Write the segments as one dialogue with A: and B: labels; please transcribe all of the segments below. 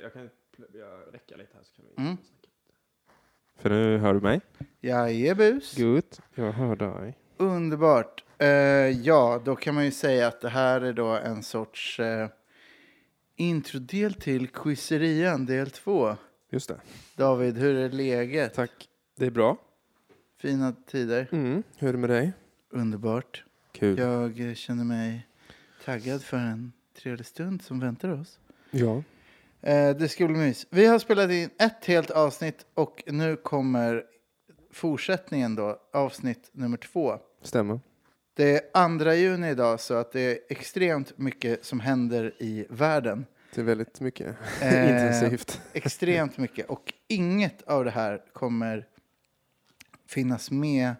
A: jag kan pl- jag räcka lite här så kan vi
B: Mm.
A: snacka lite. För nu hör du mig.
B: Jajebus.
A: Gud, jag hör dig.
B: Underbart. Eh, ja, då kan man ju säga att det här är då en sorts eh, introdel till quizerian del två.
A: Just det.
B: David, hur är läget?
A: Tack. Det är bra.
B: Fina tider.
A: Mm. Hur är det med dig?
B: Underbart.
A: Kul. Ja.
B: Jag eh, känner mig taggad för en trevlig stund som väntar oss. Eh, det ska bli mys. Vi har spelat in ett helt avsnitt och nu kommer fortsättningen då, avsnitt nummer två.
A: stämmer.
B: Det är andra juni idag så att det är extremt mycket som händer i världen.
A: Det är väldigt mycket
B: Eh,
A: intensivt.
B: Extremt mycket och inget av det här kommer finnas med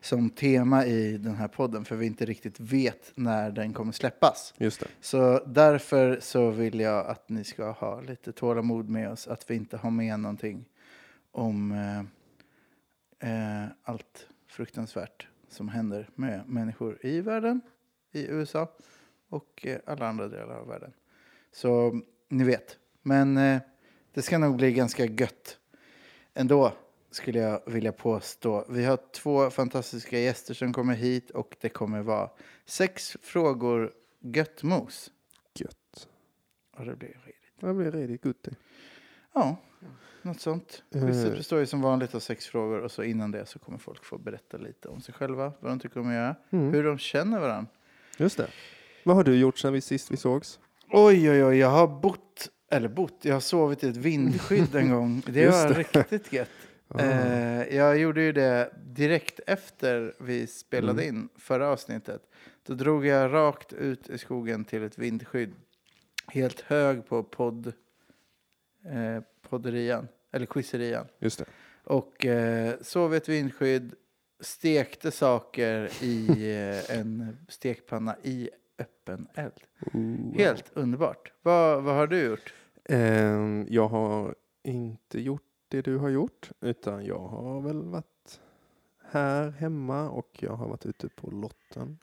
B: som tema i den här podden för vi inte riktigt vet när den kommer släppas.
A: Just det.
B: Så därför så vill jag att ni ska ha lite tålamod med oss, att vi inte har med någonting om eh, eh, allt fruktansvärt som händer med människor i världen, i USA och eh, alla andra delar av världen. Så mm, ni vet, men eh, det ska nog bli ganska gött ändå skulle jag vilja påstå. Vi har två fantastiska gäster som kommer hit och det kommer vara sex frågor gött mos.
A: Gött.
B: Och det blir skitigt.
A: Det blir riktigt gott.
B: Ja, något sånt. Quizet
A: Eh.
B: består ju som vanligt av sex frågor och så innan det så kommer folk få berätta lite om sig själva, vad de tycker om att göra,
A: Mm.
B: hur de känner varandra.
A: Just det. Vad har du gjort sedan vi sist vi sågs?
B: Oj, oj, oj, jag har bott, eller bott, jag har sovit i ett vindskydd en gång. Det
A: Just
B: var
A: det.
B: riktigt gött. Eh, jag gjorde ju det direkt efter vi spelade
A: Mm.
B: in förra avsnittet. Då drog jag rakt ut i skogen till ett vindskydd. Helt hög på podd, eh, podderian, eller quizerian.
A: Just det.
B: Och eh, sov i ett vindskydd, stekte saker i eh, en stekpanna i öppen eld. Helt underbart. Vad, vad har du gjort?
A: Ehm, jag har inte gjort det du har gjort, utan jag har väl varit här hemma och jag har varit ute på lotten.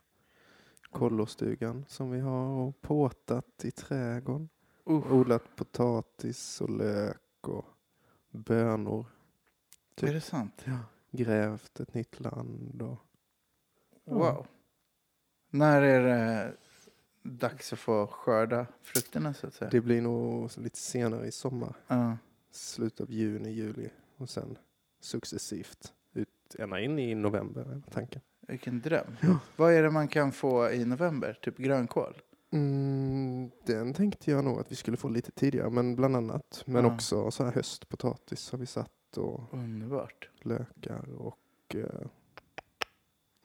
A: Kollostugan som vi har och påtat i trädgården.
B: Uh,
A: Odlat potatis och lök och bönor. typ.
B: Är det sant?
A: Grävt ett nytt land. Och... Ja.
B: Wow. När är det dags att få skörda frukterna så att säga?
A: Det blir nog lite senare i sommar.
B: Ja.
A: Slutet av juni, juli och sen successivt ut, ända in i november är tanken.
B: vilken dröm. Vad är det man kan få i november? Typ grönkål?
A: Mm, den tänkte jag nog att vi skulle få lite tidigare, men bland annat. Men
B: Ja.
A: också så här höstpotatis har vi satt och
B: Underbart.
A: lökar och eh,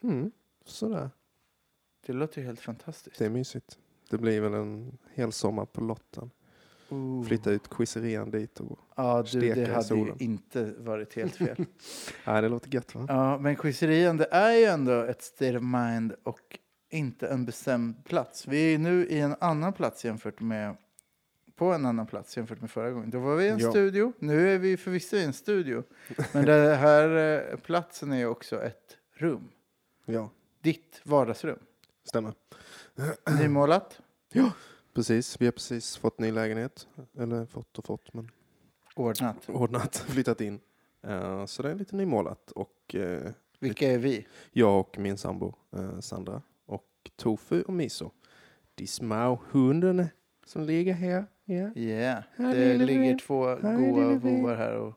A: mm, sådär.
B: Det låter ju helt fantastiskt.
A: Det är mysigt. Det blir väl en hel sommar på lotten.
B: Uh.
A: Flytta ut quizzerían dit. Och...
B: Ja, du,
A: steka i
B: det hade ju
A: solen.
B: inte varit helt fel.
A: Nej, det låter gött va?
B: ja, men quizerian, det är ju ändå ett state of mind och inte en bestämd plats. Vi är ju nu i en annan plats jämfört med på en annan plats jämfört med förra gången. Då var vi i en
A: Ja.
B: studio. Nu är vi förvisso i en studio. Men den här eh, platsen är ju också ett rum.
A: Ja,
B: Ditt vardagsrum.
A: stämmer.
B: Nymålat.
A: Precis, vi har precis fått ny lägenhet. Eller fått och fått, men
B: Ordnat.
A: ordnat, flyttat in. Eh, så det är lite nymålat och eh,
B: Vilka är vi?
A: Jag och min sambo eh, Sandra och Tofu och Miso. De små hundarna som ligger här. Ja.
B: Yeah.
A: Här
B: Det
A: lille
B: ligger
A: vi.
B: två
A: Här lille
B: goa
A: vi.
B: vovvar här och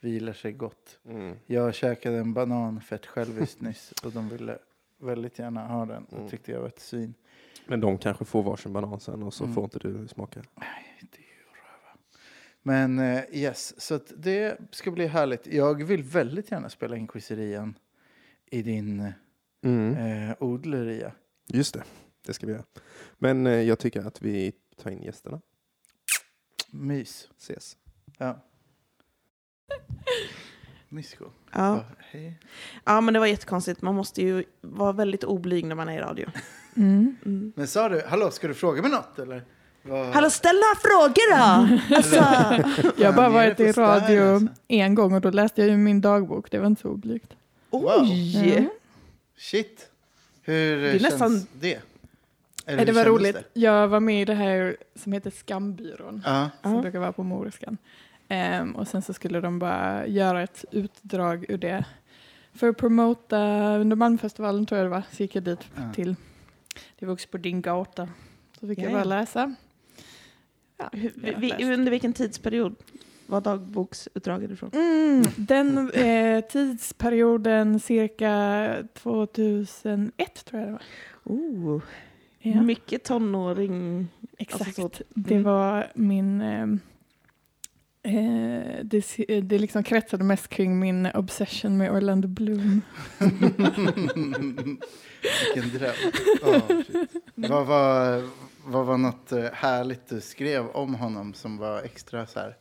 B: vilar sig gott.
C: Mm.
B: Jag käkade en banan fett själviskt nyss och de ville väldigt gärna ha den
A: Mm.
B: och tyckte jag var ett svin.
A: Men de kanske får varsin banan sen och så
B: Mm.
A: får inte du smaka.
B: Men eh, yes, så att det ska bli härligt. Jag vill väldigt gärna spela in quizerian i din
C: Mm.
B: eh, odleria.
A: Just det, det ska vi göra. Men eh, jag tycker att vi tar in gästerna.
B: Mys.
A: Ses.
B: Ja. Mysko.
D: Ja.
B: Ja, hej.
D: ja, men det var jättekonstigt. Man måste ju vara väldigt oblyg när man är i radio.
C: Mm.
D: Mm.
B: Men sa du, hallå, ska du fråga mig något eller? Vad-
D: Hallå, ställ några frågor då! Alltså,
C: Jag har bara
B: Fan, ni är
C: varit
B: det
C: i
B: på style,
C: radio
B: alltså.
C: en gång och då läste jag ju min dagbok. Det var inte så oblygt.
D: oj!
C: Mm.
B: Shit. Hur
D: Det
B: det
D: är
B: känns
D: nästan-
B: det? Eller
C: Nej, det
B: hur
C: var
B: kändes
C: roligt. Jag var med i det här som heter Skambyrån.
B: Ja,
D: Ja.
C: Som brukar vara på Moriskan. Ehm, och sen så skulle de bara göra ett utdrag ur det. För att promota under Malmfestivalen tror jag det var. Så gick jag dit
B: ja.
C: till. Det var också på din gata. Så fick jag
D: Ja,
C: bara
D: ja.
C: läsa. Ja,
D: Hur, vi,
C: jag läste.
D: vi, under vilken tidsperiod var dagboksutdraget ifrån?
C: Mm, den eh, tidsperioden cirka 2001 tror jag det var.
D: Oh,
C: Ja,
D: Mycket tonåring.
C: exakt.
D: alltså så-
C: Det
D: mm.
C: var min... ehm, Eh, det, se- det liksom kretsade mest kring min obsession med Orlando Bloom.
B: Vilken dröm. Ja, shit. vad, var, vad var något eh, härligt du skrev om honom som var extra så här?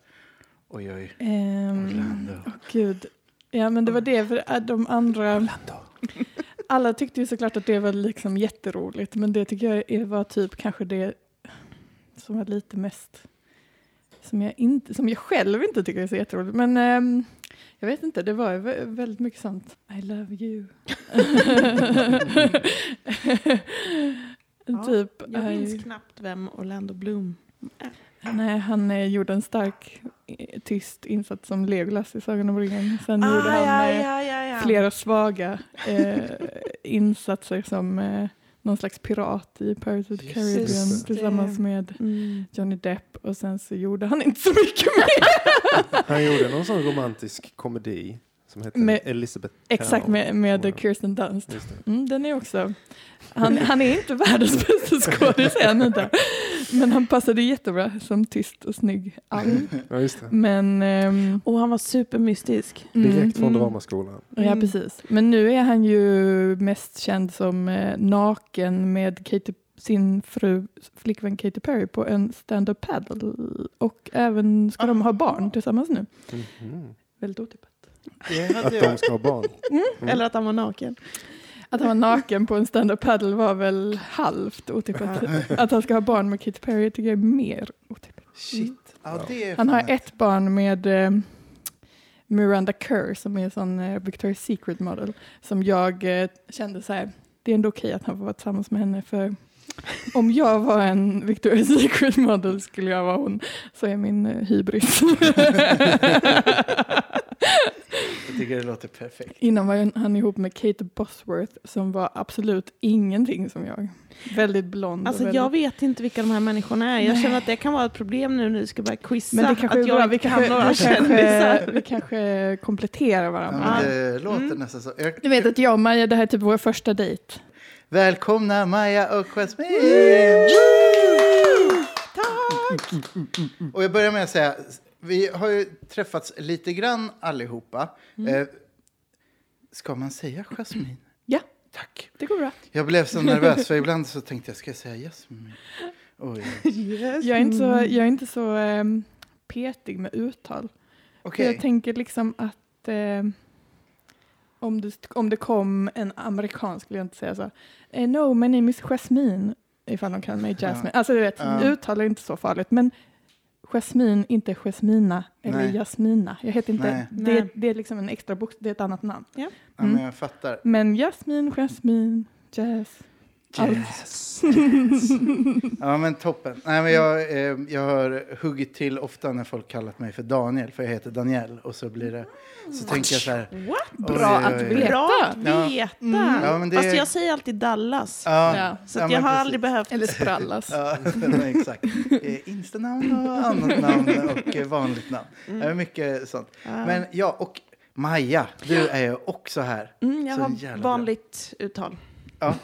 B: Oj, oj.
C: Ehm,
B: Orlando.
C: Åh gud. Ja men det var det, för eh, de andra... Alla tyckte ju såklart att det var liksom jätteroligt, men det tycker jag är- var typ kanske det som var lite mest... Som jag, inte, som jag själv inte tycker är så jätteroligt, men ehm, jag vet inte, det var ju vä- väldigt mycket sånt. I love you.
D: Ja,
C: typ,
D: Jag
C: I-
D: minns knappt vem Orlando Bloom är.
C: Nej, han eh, gjorde en stark eh, tyst insats som Legolas i Sagan om ringen. Sen gjorde han eh,
D: Ah, ja, ja, ja.
C: flera svaga eh, insatser som eh, någon slags pirat i Pirates of the
B: Just
C: Caribbean
A: det.
C: tillsammans med
D: Mm.
C: Johnny Depp och sen så gjorde han inte så mycket mer.
A: Han gjorde någon sån romantisk komedi som hette
C: Med-
A: Elizabeth
C: Exakt
A: Town.
C: med, med Kirsten Dunst.
A: Just det.
C: Mm, den är också. Han, han är inte världens bästa skådis än inte. Men han passade jättebra som tyst och snygg alm.
A: Ja, just det.
C: Men ehm,
D: Och han var supermystisk.
C: mm,
A: Direkt från
C: mm.
A: dramaskolan.
C: Ja,
D: Mm.
C: precis. Men nu är han ju mest känd som eh, naken med Katy, sin fru, flickvän Katy Perry på en stand-up paddle. Och även ska de ha barn tillsammans nu.
A: Mhm.
C: Väldigt otippat.
B: Det
A: Att
B: hade jag.
A: de ska ha barn. Mm.
D: Eller att han var naken.
C: Att han var naken på en stand-up paddle var väl halvt otippat. Att han ska ha barn med Katy Perry tycker jag är mer otippat.
B: Shit. Ja, det är
C: Han har
B: fan
C: ett barn med eh, Miranda Kerr som är en sån eh, Victoria's Secret model som jag eh, kände så här, det är ändå okej att han får vara tillsammans med henne för om jag var en Victoria's Secret model skulle jag vara hon så är min eh, hybris.
B: Jag tycker det låter perfekt.
C: Innan var han ihop med Kate Bosworth som var absolut ingenting som jag. Väldigt blond. och
D: Alltså
C: väldigt...
D: jag vet inte vilka de här människorna är. Jag
C: Nej.
D: känner att det kan vara ett problem nu när vi ska börja quizza.
C: Men det kanske
D: att
C: är bra,
D: jag
C: vi
D: inte kan
C: kanske,
D: några
C: vi, kanske,
D: kändisar.
C: vi kanske kompletterar
B: Ja,
C: varandra.
B: men det låter
D: Mm.
B: nästan så. Jag,
C: Du vet att jag och Maja, det här är typ vår första dejt.
B: Välkomna Maja och Jasmine!
D: Tack!
B: Och jag börjar med att säga, vi har ju träffats lite grann allihopa.
C: Mm.
B: Eh, ska man säga Jasmine?
C: Ja.
B: Tack.
C: Det går bra.
B: Jag blev så nervös för ibland så tänkte jag, ska jag säga Jasmine? Oj.
C: Jag är inte så,
B: Mm.
C: jag är inte så ehm, petig med uttal. För
B: Okej.
C: Jag tänker liksom att ehm, om, du, om det kom en amerikan skulle jag inte säga så. Eh, no, my name is Jasmine. Ifall de kallar mig Jasmine. Alltså du vet,
B: Ja.
C: uttal är inte så farligt. Men Jasmine, inte Jasmina eller
B: Nej.
C: Jasmina. Jag heter
B: Nej.
C: inte, det,
D: Nej.
C: det är liksom en extra bokstav, det är ett annat namn.
B: Ja,
C: Mm.
B: men jag fattar.
C: Men Jasmine, Jasmine, Jazz. Allt.
B: Yes. Ja, men toppen. Nej, men jag, eh, jag har huggit till ofta när folk kallat mig för Daniel, för jag heter Daniel. Och så blir det, så tänker jag så här,
D: What?
C: Mm. Bra
B: Oj, oj,
C: att
B: oj.
C: veta.
D: Bra att
B: Ja.
D: veta.
C: Mm.
B: Ja, men det-
D: Fast Alltså, jag säger alltid Dallas.
B: Ja,
C: Ja.
D: Så
B: ja,
D: att
B: men
D: jag har
B: precis.
D: aldrig behövt...
C: Eller sprallas.
B: Ja, nej, exakt. Eh, Instanamn och annat namn och eh, vanligt namn. Mm. Mycket sånt.
D: Ja.
B: Men ja, och Maja, du är ju också här.
D: Mm, jag
B: Så jävla
D: har
B: bra.
D: vanligt uttal.
B: Ja,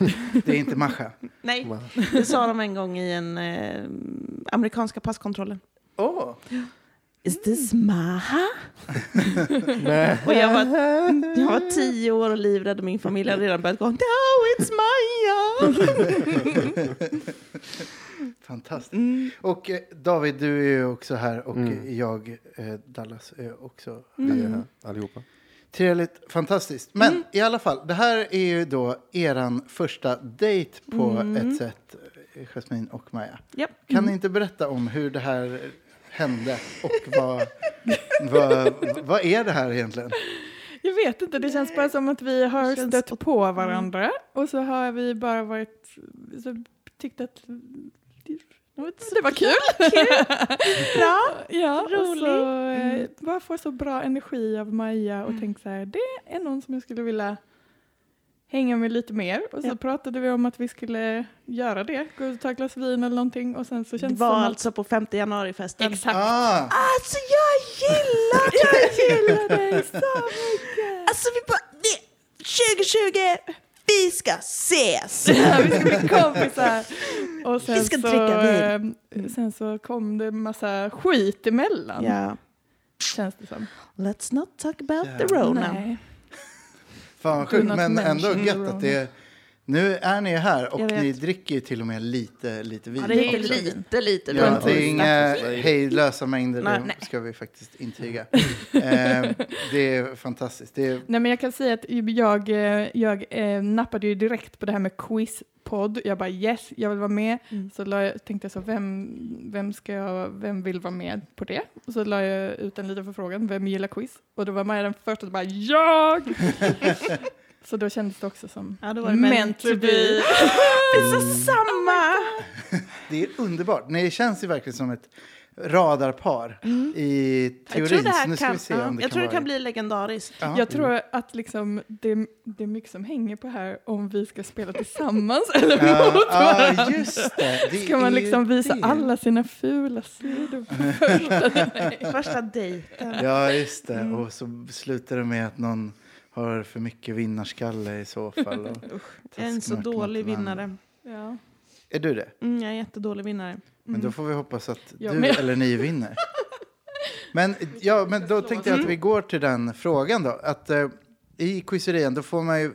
B: det är inte Masha.
D: Nej,
C: Mm.
A: Va?
D: det sa de en gång i en eh, amerikanska passkontrollen.
B: Åh,
D: Is this
B: Mm.
D: Maha?
A: Nej.
D: Och jag var, jag var tio år och livrädd och min familj hade redan börjat gå No, it's Maja!
B: fantastiskt.
D: Mm.
B: Och eh, David, du är ju också här och
A: Mm.
B: eh, jag, eh, Dallas, är också
A: Vi är
D: Mm.
A: här allihopa.
B: Trevligt, fantastiskt. Men i alla fall, det här är ju då eran första dejt på ett sätt, eh, Jasmine och Maja.
D: Japp.
B: Kan ni inte berätta om hur det här hände och vad, vad, vad är det här egentligen?
C: Jag vet inte, det känns bara som att vi har
D: Det känns
C: stött
D: på-
C: på varandra och så har vi bara varit så tyckte att det var,
D: Det var kul.
C: Bra, ja, Och
D: roligt.
C: så, eh,
D: Mm.
C: Bara få så bra energi av Maja och
D: Mm.
C: tänk så här, det är någon som jag skulle vilja hänga med lite mer. Och så
D: Ja.
C: pratade vi om att vi skulle göra det, gå ut och ta ett glas vin eller någonting och sen så
D: Det
C: känns
D: var
C: som att-
D: alltså på 5 januari-festen.
C: Exakt.
B: Ah,
D: Alltså jag gillar det!
C: Jag gillar dig så mycket!
D: Alltså vi bara, det, 2020, vi ska ses!
C: vi ska bli kompisar! Och sen
D: Alltså, Vi ska
C: så,
D: dricka Mm.
C: eh, Sen så kom det en massa skit emellan,
D: Ja,
C: känns det som.
D: let's not talk about
B: Ja.
D: the Rona.
C: Nej.
B: fan vad
C: Do
B: sjukt.
C: not
B: Men ändå
C: mention
B: gött
C: the
B: att det Nu är ni här och
D: Jag vet.
B: ni dricker ju till och med lite, lite vin.
D: Ja, det är ju
B: också.
D: lite, lite
B: Ja,
D: runt
B: det är
D: om.
B: inga hejdlösa mängder,
D: Nej,
B: det
D: nej.
B: ska vi faktiskt intyga. eh, det är fantastiskt. Det är,
C: Nej men jag kan säga att jag, eh, jag eh, nappade ju direkt på det här med quizpodd. Jag bara yes, jag vill vara med.
D: Mm.
C: Så la jag, tänkte jag så, vem, vem, ska jag, vem vill vara med på det? Och så la jag ut en liten förfrågan, vem gillar quiz? Och då var Maja den första som bara, jag! så då kändes det också som
D: Ja, då var det meant to be. Det är så samma!
B: det är underbart. Ni känns ju verkligen som ett radarpar
D: Mm.
B: i
D: Jag
B: teorin.
D: tror
B: Så
D: det
B: nu
D: här
B: ska vi
D: kan,
B: se om
D: ja,
B: det
D: jag
B: kan
D: tror det
B: vara
D: kan bli legendariskt.
B: Ja.
C: Jag tror att liksom det, det är mycket som hänger på här om vi ska spela tillsammans eller
B: Ja,
C: mot varandra.
B: ja, just det. det
C: Ska man
B: är
C: liksom visa
B: det.
C: alla sina fula sidor på första? Nej.
D: Första dejten.
B: Ja, just det. Och så slutar det med att någon har för mycket vinnarskalle i så fall. Och
D: Jag är en så
B: taskmört mot
D: dålig
B: varandra.
D: vinnare.
C: Ja.
B: Är du det?
D: Mm, jag är en jättedålig vinnare.
B: Men då får vi hoppas att
C: Mm. Ja,
B: du
C: men-
B: eller ni vinner. Men, ja, men då tänkte jag att vi går till den frågan då. Att, eh, I quizerien då får man ju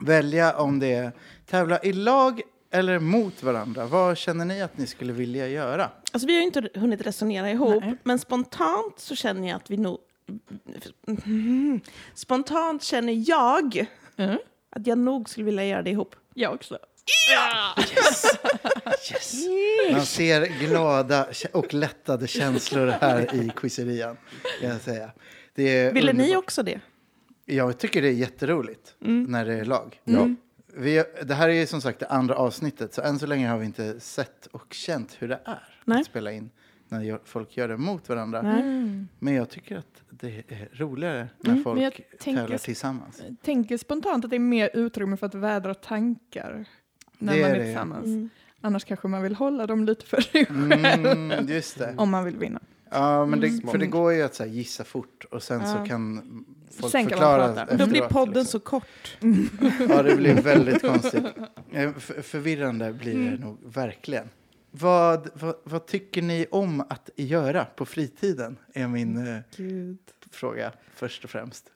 B: välja om det är tävla i lag eller mot varandra. Vad känner ni att ni skulle vilja göra?
D: Alltså, vi har ju inte hunnit resonera ihop,
C: Nej.
D: men spontant så känner jag att vi nog... Mhm. Spontant känner jag
C: Mm.
D: att jag nog skulle vilja göra det ihop.
C: Jag också.
B: Yes! Man ser glada kä- och lättade känslor här i quizerian. Kan jag säga. Det är
D: Ville ni
B: underbart.
D: också det? Mm.
B: Jag tycker det är jätteroligt när det är lag.
C: Mm.
B: Vi, det här är ju som sagt det andra avsnittet, så än så länge har vi inte sett och känt hur det är
D: Nej.
B: att spela in när gör- folk gör det mot varandra.
D: Nej.
B: Men jag tycker att det är roligare när
C: Mm, men jag
B: folk
C: tänker
B: tävlar
C: s-
B: tillsammans.
C: Tänker spontant att det är mer utrymme för att vädra tankar när
B: Det
C: man
B: är
C: är
B: det.
C: tillsammans.
D: Mm.
C: Annars kanske man vill hålla dem lite för sig själv
B: Mm, just det.
C: om man vill vinna.
B: Ja, men det,
A: Mm.
B: för det går ju att så här, gissa fort och sen så
D: Ja.
B: kan folk
C: Sen kan man
B: förklara.
C: prata. Då
D: Då
B: efteråt,
D: blir podden
B: liksom.
D: så kort.
B: Ja, det blir väldigt konstigt. Eh, f- Förvirrande blir det
D: Mm.
B: nog verkligen. Vad, vad, vad tycker ni om att göra på fritiden? Är min eh, fråga först och främst.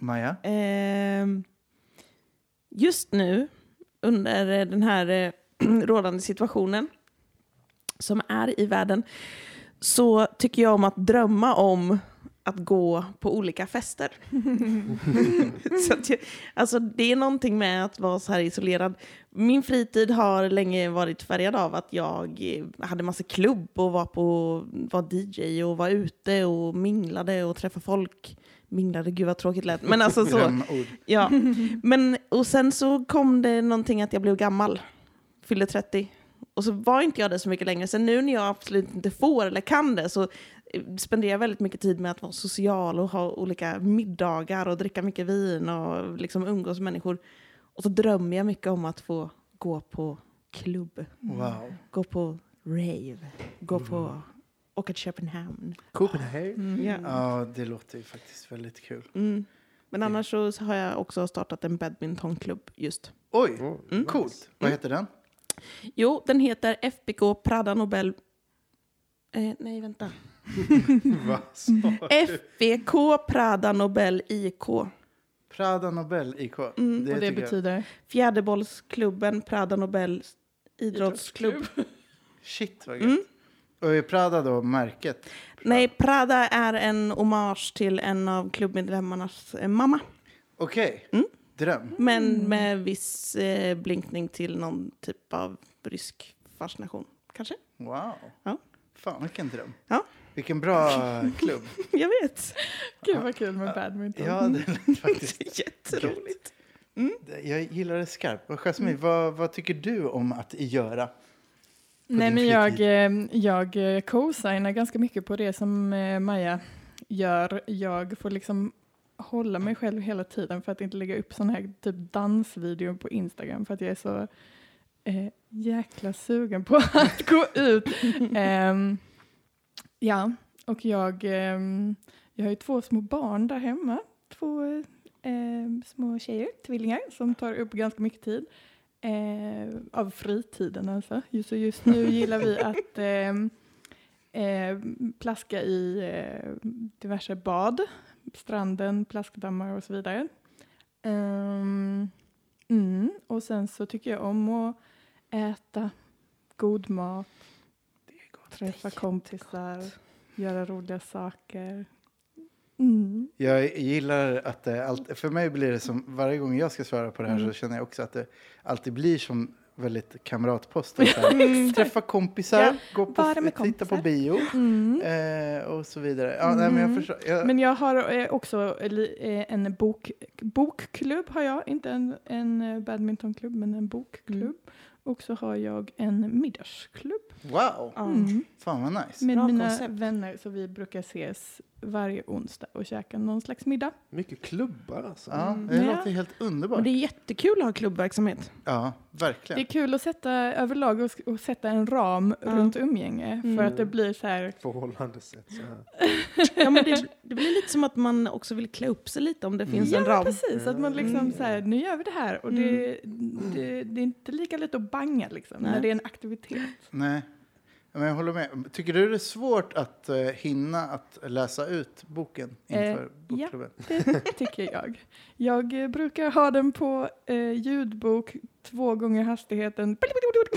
B: Maja?
D: Ehm, just nu, under eh, den här eh, rådande situationen som är i världen, så tycker jag om att drömma om att gå på olika fester. så att jag, alltså det är någonting med att vara så här isolerad. Min fritid har länge varit färgad av att jag eh, hade massa klubb och var, på, var DJ och var ute och minglade och träffade folk. Minglade, gud vad tråkigt lät. Men alltså så.
B: Drömord.
D: Ja, men och sen så kom det någonting att jag blev gammal, fyllde 30. Och så var inte jag det så mycket längre. Sen nu när jag absolut inte får eller kan det så eh, spenderar jag väldigt mycket tid med att vara social och ha olika middagar och dricka mycket vin och liksom umgås med människor. Och så drömmer jag mycket om att få gå på klubb,
B: Wow.
D: gå på rave, gå på åka till Köpenhamn.
A: Copenhagen.
D: Ja.
B: Ja, det låter ju faktiskt väldigt kul.
D: Mm. Men annars så har jag också startat en badmintonklubb just.
B: Oj,
A: Oh,
D: Mm.
B: coolt. Vad heter den?
D: Jo, den heter FBK Prada Nobel... Eh, nej, vänta. Mm.
A: Vad sa
D: FBK Prada Nobel IK.
B: Prada Nobel IK.
D: Mm,
C: och det
B: tycker jag-
C: betyder?
D: Fjäderbollsklubben Prada Nobel idrottsklubb.
B: Shit, vad gött.
D: Mm.
B: Och är Prada då märket?
D: Nej, Prada är en hommage till en av klubbmedlemmarnas eh, mamma.
B: Okej,
D: Mm.
B: dröm.
D: Men med viss eh, blinkning till någon typ av rysk fascination, kanske?
B: Wow.
D: Ja.
B: Fan, vilken dröm.
D: Ja.
B: Vilken bra klubb.
D: Jag vet.
C: Gud vad kul med badminton.
B: Ja, det lät faktiskt
D: Jätteroligt.
B: Det- Jag gillar det skarpt. Vad, Jasmine, vad, vad tycker du om att göra?
C: Nej,
B: din
C: men jag,
B: fritid?
C: eh, jag eh, co-signar ganska mycket på det som eh, Maja gör. Jag får liksom hålla mig själv hela tiden för att inte lägga upp sån här typ dansvideo på Instagram för att jag är så eh, jäkla sugen på att gå ut. Ehm, ja, och jag, ehm, jag har ju två små barn där hemma. Två ehm, små tjejer, tvillingar, som tar upp ganska mycket tid. Eh, av fritiden alltså. Just, så just nu gillar vi att ehm, ehm, plaska i eh, diverse bad. Stranden, plaskdammar och så vidare. Ehm, mm, och sen så tycker jag om att äta god mat, träffa kompisar, göra roliga saker. Mm.
B: Jag gillar att det alltid, för mig blir det som, varje gång jag ska svara på det här så känner jag också att det alltid blir som väldigt kamratposten. Så här, Träffa kompisar,
C: Ja,
B: gå på,
C: bara med
B: titta på
C: kompisar.
B: bio
C: Mm.
B: eh, och så vidare. Ja, nej, men jag
C: Mm.
B: förstår. Jag,
C: Men jag har eh, också li- eh, en bok, bokklubb, har jag. inte en, en eh, badmintonklubb, men en bokklubb.
D: Mm.
C: Och så har jag en middagsklubb
B: wow,
D: Ja.
C: Mm.
B: fan vad nice.
C: med
D: Bra
C: mina
D: koncept.
C: vänner. Så vi brukar ses varje onsdag och käka någon slags middag.
A: Mycket klubbar alltså.
B: Ja,
D: Mm.
B: det
C: Ja.
B: låter helt
D: Och
B: underbart.
D: det är jättekul att ha klubbverksamhet.
B: Ja,
C: Det
B: verkligen.
C: är kul att sätta överlag och, och sätta en ram
D: Ja.
C: runt umgänge för
D: Mm.
C: att det blir så här.
A: Förhållandesätt så
B: Mm.
A: här.
D: Ja, men det, det blir lite som att man också vill klä upp sig lite om det finns
C: ja,
D: en ram.
C: precis. Att man liksom
D: Mm.
C: så här, nu gör vi det här. Och det, det, det är inte lika lätt att banga liksom, när
D: Nej.
C: det är en aktivitet.
B: Nej, men jag håller med. Tycker du det är svårt att eh, hinna att läsa ut boken inför
C: Eh,
B: bokklubben?
C: Det tycker jag. Jag eh, brukar ha den på eh, ljudbok två gånger hastigheten.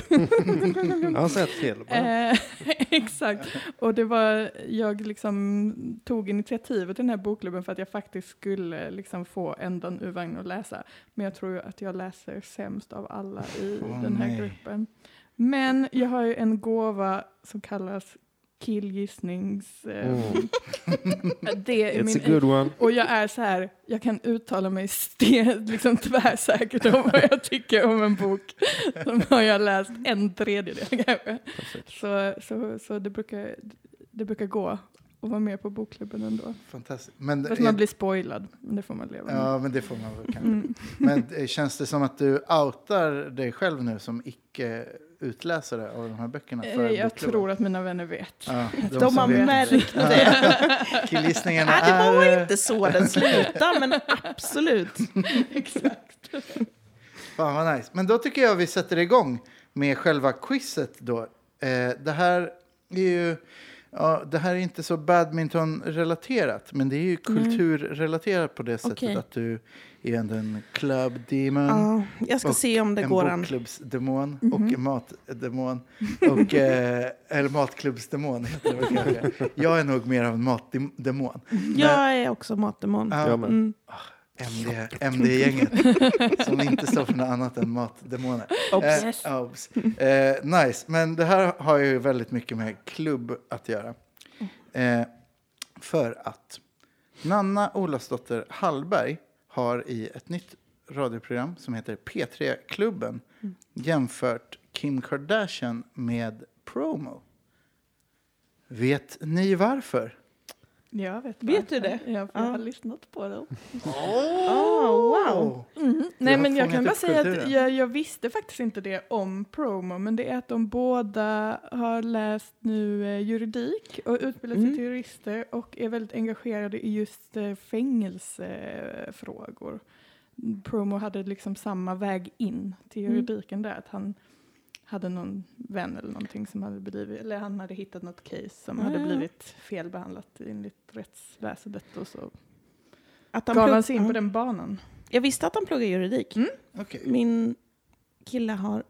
A: Jag har sett fel. bara.
C: Eh, exakt. Och det var, jag liksom tog initiativet till den här bokklubben för att jag faktiskt skulle liksom få ändan ur vagn och läsa. Men jag tror ju att jag läser sämst av alla i
B: Åh,
C: den här
B: nej.
C: gruppen. Men jag har ju en gåva som kallas killgissnings... Eh,
A: Mm.
C: Det är min
A: It's a good one.
C: och jag är så här, jag kan uttala mig sten, liksom tvärsäkert om vad jag tycker om en bok. Som har jag läst en tredjedel kanske. Så, så, så det, brukar, det brukar gå att vara med på bokklubben ändå.
B: Fantastiskt. Men,
C: Fast
B: är-
C: man blir spoilad, men det får man leva med.
B: Ja, men det får man väl kanske.
C: Mm.
B: Men eh, känns det som att du outar dig själv nu som icke-utläsare av de här böckerna? För
C: Eh, Jag
B: bokklubben?
C: tror att mina vänner vet.
B: Ja, de
D: De
B: som
D: har
B: vet.
D: märkt det.
B: Killgissningarna
D: Nej, det
B: är... Mm.
D: var inte så den slutade, men absolut.
C: Exakt.
B: Fan vad nice. Men då tycker jag vi sätter igång med själva quizet då. Eh, det här är ju... Ja, det här är inte så badminton-relaterat, men det är ju kulturrelaterat på det sättet
D: Okej.
B: att du är ändå en club demon.
D: Ja, jag ska
B: Och
D: se om det
B: en
D: går an. Mhm.
B: bokklubbsdemon och en matdemon. Och, eh, eller matklubbsdemon heter det väl kanske. Jag är nog mer av en matdemon.
D: Jag är också matdemon.
B: Ja,
A: Jag med.
D: Mm.
B: MD, MD-gänget som inte står för något annat än matdemoner.
D: Obs.
B: Eh, obs. Eh, nice, men det här har ju väldigt mycket med klubb att göra. Eh, för att Nanna Olofsdotter Hallberg har i ett nytt radioprogram som heter P3-klubben
D: Mm.
B: jämfört Kim Kardashian med promo. Vet ni varför?
C: Jag vet
D: Vet du
C: varför. Ja, för jag
D: Ja.
C: har lyssnat på dem.
D: Oh, wow.
C: Mm, Nej
B: har
C: men jag
B: fångat
C: kan
B: upp
C: bara säga att
B: kulturen.
C: jag, jag visste faktiskt inte det om promo men det är att de båda har läst nu eh, juridik och utbildat sig
D: Mm.
C: till jurister och är väldigt engagerade i just eh, fängelsefrågor. Promo hade liksom samma väg in till
D: Mm.
C: juridiken där att han hade någon vän eller någonting som hade blivit, eller han hade hittat något case som
D: Ah,
C: hade
D: ja.
C: blivit felbehandlat enligt rättsväsendet och så
D: Att
C: gav
D: plugg-
C: han sig in
D: Ja.
C: på den banan.
D: Jag visste att han pluggar juridik.
C: Mm.
B: Okej.
D: Min kille har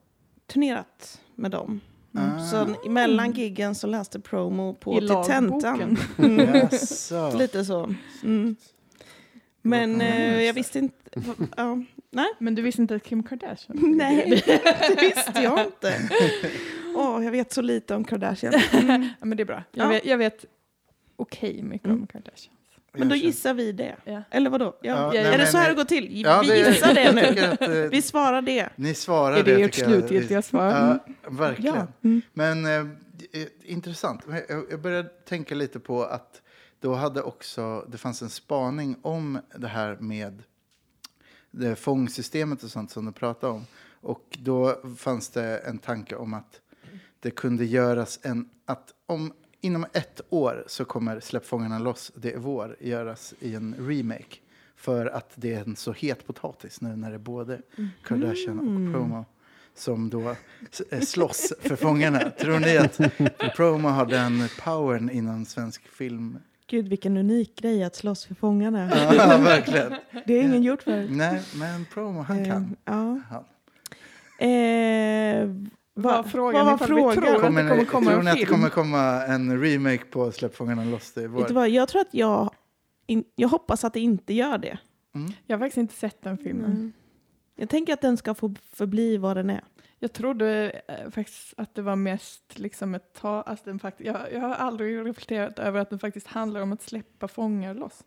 D: turnerat med dem.
C: Mm.
B: Ah.
D: Så mellan giggen så läste promo på Mm.
C: I
D: till
C: lagboken.
D: tentan.
B: Jaså.
D: Lite så. Mm. Men
B: Mm.
D: eh, jag visste inte. va- Ja.
C: Men du visste inte att Kim Kardashian
D: Nej, det visste jag inte. Åh, jag vet så lite om Kardashian.
C: Mm. ja, men det är bra. Jag
D: Ja.
C: vet, jag vet okej mycket
D: Mm.
C: om Kardashians.
D: Men då
B: Jag känner-
D: gissar vi det.
C: Ja.
D: Eller vadå? Ja.
B: Ja,
C: Ja,
D: är
C: nej,
D: det
C: men
D: så här det
B: ni-
D: går till?
B: Ja,
D: vi gissar det
B: jag
D: nu.
B: tycker att, eh,
D: Vi svarar det.
B: Ni svarar
C: Är det ert
B: tycker jag.
C: slutgiltiga svar?
B: Ja,
C: Mm.
B: verkligen.
D: Ja.
B: Men eh, det är intressant. Men Jag jag började tänka lite på att då hade också, det fanns en spaning om det här med det fångsystemet och sånt som du pratade om. Och då fanns det en tanke om att det kunde göras en, att om inom ett år så kommer Släpp fångarna loss, det är vår, göras i en remake. För att det är en så het potatis nu när det är både Kardashian
C: Mm.
B: och Promo som då s- eh, slåss för fångarna. Tror ni att Promo har den powern inom svensk film?
D: Gud, vilken unik grej att slåss för fångarna.
B: Ja, verkligen.
D: Det har ingen gjort förut. Ehm,
B: Nej, men Promo, han kan.
D: Ja.
B: Han.
D: Eh,
C: Vad var frågan?
D: Vad
C: Ifall
D: var frågan?
C: Vi tror att det kommer komma
B: tror
C: en
B: ni att det
C: film?
B: kommer komma en remake på Släpp fångarna loss, det är
D: Vet du
B: vår?
D: vad, jag tror att jag... In, jag hoppas att det inte gör det.
B: Mm.
C: Jag har faktiskt inte sett den filmen.
D: Mm. Jag tänker att den ska få förbli vad den är.
C: Jag trodde eh, faktiskt att det var mest liksom ett tag, alltså den fakt- jag, jag har aldrig reflekterat över att den faktiskt handlar om att släppa fångar loss.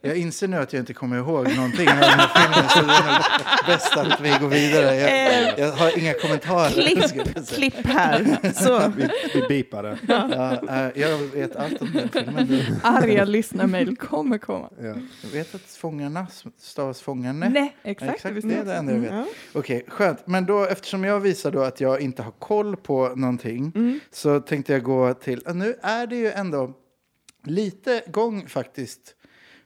B: Jag inser nu att jag inte kommer ihåg någonting av den här filmen så det är nog bäst att vi går vidare.
C: Eh,
B: Jag, jag har inga kommentarer. skulle jag säga.
D: Klipp, klipp här. Så.
A: Vi, vi bipar det.
B: Ja, eh, jag vet allt om den filmen.
C: Arga lyssnarmail kommer komma.
A: Ja.
B: Jag vet att fångarna stavas fångarne.
C: Nej, exakt.
B: Exakt,
C: visste
B: det är
C: jag.
B: det enda jag vet.
D: Ja.
B: Okej, skönt. Men då, eftersom jag visar då att jag inte har koll på någonting
D: Mm.
B: så tänkte jag gå till... ja, Nu är det ju ändå lite gång faktiskt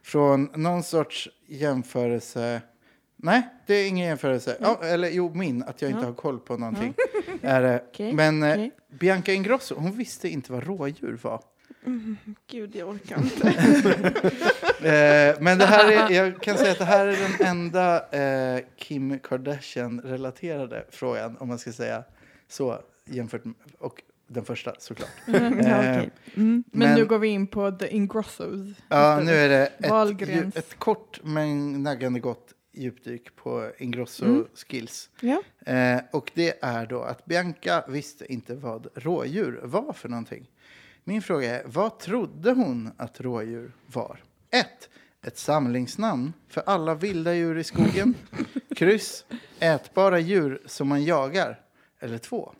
B: från någon sorts jämförelse... Nej, det är ingen jämförelse. Ja, eller jo, min, att jag inte
D: Ja.
B: har koll på någonting. Är det.
D: Okej,
B: Men eh,
D: okej.
B: Bianca Ingrosso, hon visste inte vad rådjur var.
D: Gud, jag orkar
B: Mm.
D: inte.
B: Eh, men det här är, jag kan säga att det här är den enda eh, Kim Kardashian-relaterade frågan, om man ska säga så, jämfört med, och den första såklart.
D: Mm, ja, okej.
B: Eh,
D: mm.
C: Men,
B: Men-
C: nu går vi in på The Ingrossos.
B: Ja, nu är det ett, ju,
C: Wahlgrens.
B: ett kort men naggande gott djupdyk på Ingrosso
D: Mm.
B: skills.
D: ja.
B: Eh, och det är då att Bianca visste inte vad rådjur var för någonting. Min fråga är, vad trodde hon att rådjur var? 1. Ett samlingsnamn för alla vilda djur i skogen. Kryss. Ätbara djur som man jagar. Eller 2.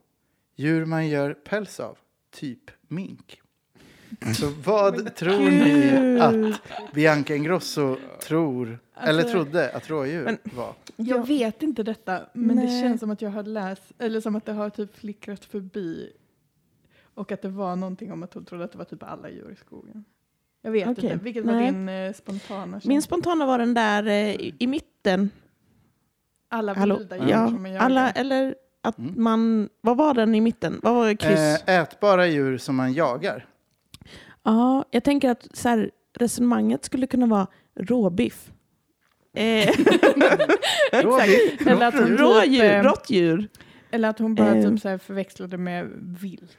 B: Djur man gör päls av. Typ mink. Så vad tror ni
D: Gud.
B: att Bianca Ingrosso tror, eller
C: Alltså-
B: trodde att rådjur
D: Men-
B: var?
C: Jag vet inte detta, men det
D: Nej.
C: känns som att jag har läst, eller som att det har typ flickrat förbi. Och att det var någonting om att hon trodde att det var typ alla djur i skogen. Jag vet
D: Okej.
C: inte, vilket var
D: Nej.
C: din eh, spontana
D: Min
C: känsla?
D: spontana var den där eh, i, i mitten.
C: Alla
D: Hallå?
C: vilda djur
D: Ja.
C: som man jagar.
D: Alla, eller att
B: Mm.
D: man... Vad var den i mitten? Vad var kryss?
B: Eh, Ätbara djur som man jagar.
D: Ja, jag tänker att så här, resonemanget skulle kunna vara råbiff.
B: Då
D: Eh,
B: har vi- då-
C: Eller att hon,
D: rådjur,
C: typ, eh,
D: råttdjur.
C: eller att hon bara
D: Ehm.
C: typ så här förväxlade med vilt.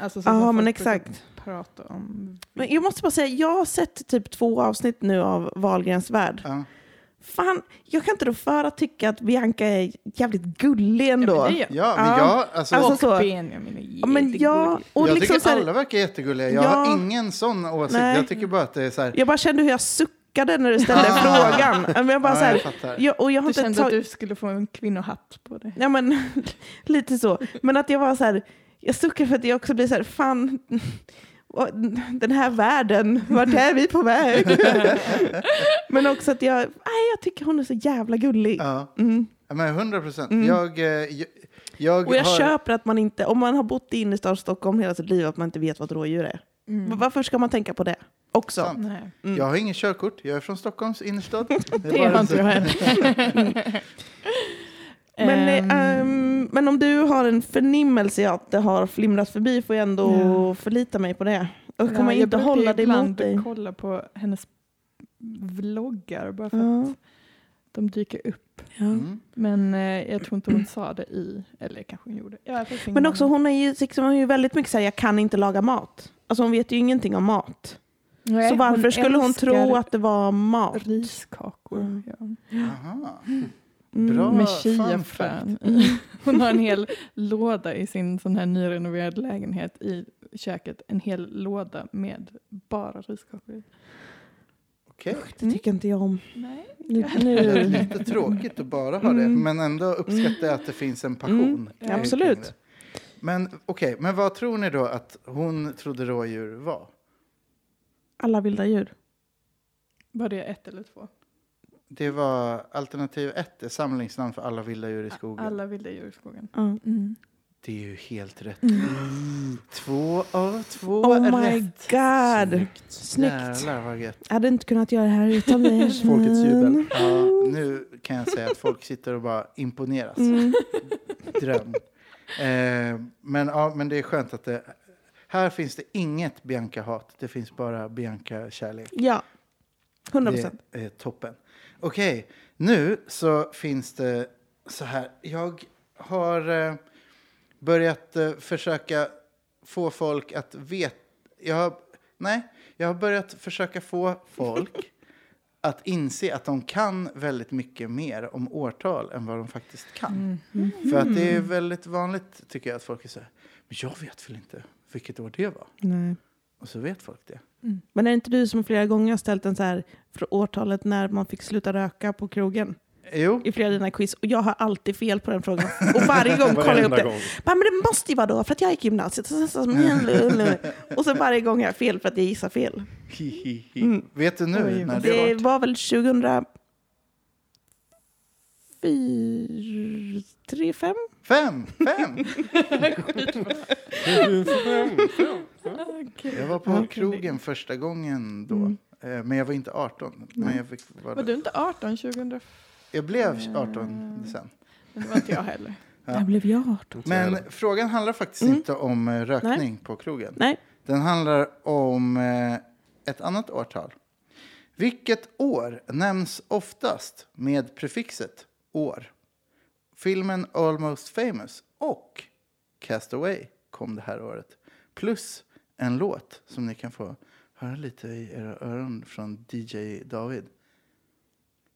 C: Alltså som
D: Ja,
C: folk
D: men
C: brukar
D: exakt.
C: Prata om
D: Men jag måste bara säga, jag har sett typ två avsnitt nu av Wahlgrens värld.
B: Ja.
D: Fan, jag kan inte då för att tycka att Bianca är jävligt gullig ändå.
C: Ja, men det gör-
B: Ja, men
D: Ja.
B: jag, alltså,
D: Alltså,
C: och
D: så.
C: Benjamin är
D: Ja, men jag,
C: jättegullig.
D: och
B: jag
D: liksom så
B: tycker
D: här,
B: alla verkar jättegulliga. Jag
D: Ja.
B: har ingen sån åsikt.
D: Nej.
B: Jag tycker bara att det är så här...
D: jag bara kände hur jag suckade när du ställde
B: Ah.
D: frågan. Men jag bara
B: ja,
D: så
B: jag
D: här,
B: fattar.
D: jag, och jag har
C: Du
D: inte
C: kände att
D: tagit...
C: du skulle få en kvinnohatt på dig.
D: Ja, men lite så. Men att jag var så här, jag suckar för att jag också blir så här, fan, vad- den här världen, vart är vi på väg? men också att jag, nej, jag tycker hon är så jävla gullig.
B: Ja.
D: Mm.
B: Ja, men 100 procent.
D: Mm.
B: Jag, eh, jag, jag,
D: Och jag
B: har,
D: köper att man inte, om man har bott i innerstan Stockholm hela sitt liv, att man inte vet vad ett rådjur är.
C: Mm.
D: Varför ska man tänka på det också?
B: Sant.
C: Nej.
D: Mm.
B: jag har ingen körkort. Jag är från Stockholms innerstad. Det är
C: Det
B: bara
C: har inte
B: så.
C: jag heller.
D: Men, eh,
C: Ehm,
D: ehm, men om du har en förnimmelse i att det har flimrat förbi får jag ändå
C: Ja.
D: förlita mig på det. Och
C: ja,
D: kommer
C: jag
D: inte
C: brukar
D: hålla det
C: ibland
D: emot dig.
C: kolla på hennes vloggar bara för
D: Ja.
C: att de dyker upp.
B: Mm.
C: Men eh, jag tror inte hon sa det i, eller kanske hon gjorde. Jag har faktiskt ingen
D: Men också
C: aning.
D: hon är ju, liksom, hon är ju väldigt mycket så här, jag kan inte laga mat. Alltså hon vet ju ingenting om mat.
C: Nej,
D: så varför skulle hon
C: älskar
D: tro att det var mat?
C: riskakor?
D: Mm.
C: Ja.
B: Aha.
D: Mm.
B: Bra. fun
C: Med chiafrön i. Hon har en hel låda i sin sån här nyrenoverade lägenhet i köket en hel låda med bara riskakor i.
B: Okej.
D: Det tycker inte jag om.
C: Nej.
D: Nu,
B: Det är
D: nu.
B: lite tråkigt att bara ha det,
D: Mm.
B: men ändå uppskattar jag att det finns en passion.
C: Mm,
B: eh,
D: absolut.
B: kring det. Men okej, men vad tror ni då att hon trodde rådjur var?
D: Alla vilda djur.
C: Var det ett eller två?
B: Det var alternativ ett, är samlingsnamn för alla vilda djur i skogen.
C: Alla vilda djur i skogen.
D: Ja.
C: Mm.
B: Det är ju helt rätt. Två av två
D: Oh
B: är
D: my
B: rätt.
D: god. Snyggt.
B: Jävlar vad gött.
D: Jag hade inte kunnat göra det här utan dig.
A: Folkets jubel.
B: Ja, nu kan jag säga att folk sitter och bara imponeras.
D: Mm.
B: Dröm. Eh, men, ja, men det är skönt att det... Här finns det inget Bianca-hat. Det finns bara Bianca-kärlek.
D: Ja. 100 procent.
B: Det är toppen. Okej, nu så finns det så här. Jag har eh, börjat eh, försöka få folk att veta... Jag har, nej, jag har börjat försöka få folk att inse att de kan väldigt mycket mer om årtal än vad de faktiskt kan.
C: Mm.
D: Mm.
B: För att det är väldigt vanligt, tycker jag, att folk är så här. Men jag vet väl inte vilket år det var?
D: Nej.
B: Och så vet folk det.
C: Mm.
D: Men är det inte du som flera gånger har ställt en så här för årtalet när man fick sluta röka på krogen
B: Jo,
D: i flera av dina quiz och jag har alltid fel på den frågan. Och varje gång kollar jag upp det.
A: gång.
D: Bara, men det måste ju vara då för att jag gick i gymnasiet. Så- så- så- Och sen varje gång har jag fel för att jag gissar fel.
B: Hihihi.
D: Mm.
B: Vet du nu
C: Oj,
B: när det,
D: Det
B: var?
D: var väl 2004, 3, 5?
B: Fem! Fem! Jag var på
C: Ja.
B: krogen första gången då.
D: Mm.
B: Eh, Men jag var inte 18. Men
D: Nej.
B: jag, fick vara
C: Var
B: där.
C: du inte 18 2000?
B: jag blev 18 sen.
C: Men det var inte jag heller.
B: Ja.
D: Där blev jag 18.
B: Men frågan handlar faktiskt
D: Mm.
B: inte om eh, rökning på krogen.
D: Nej.
B: Den handlar om eh, ett annat årtal. Vilket år nämns oftast med prefixet år? Filmen Almost famous och Castaway kom det här året. Plus en låt som ni kan få höra lite i era öron från DJ David.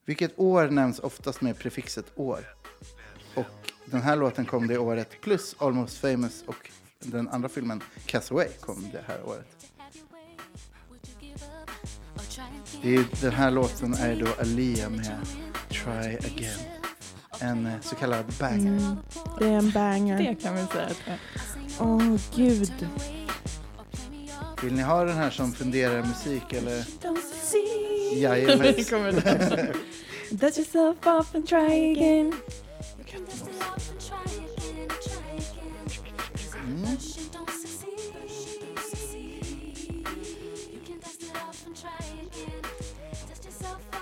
B: Vilket år nämns oftast med prefixet år? Och den här låten kom det året plus Almost famous och den andra filmen Castaway kom det här året. Det är, den här låten är då Alia med Try Again. En eh, så kallad banger.
D: Mm. Det är en banger.
C: Det kan vi säga att det
D: Åh gud.
B: Vill ni ha den här som funderar musik eller?
D: Don't see
B: Jajamän.
C: kommer det.
D: Dust yourself off and try again.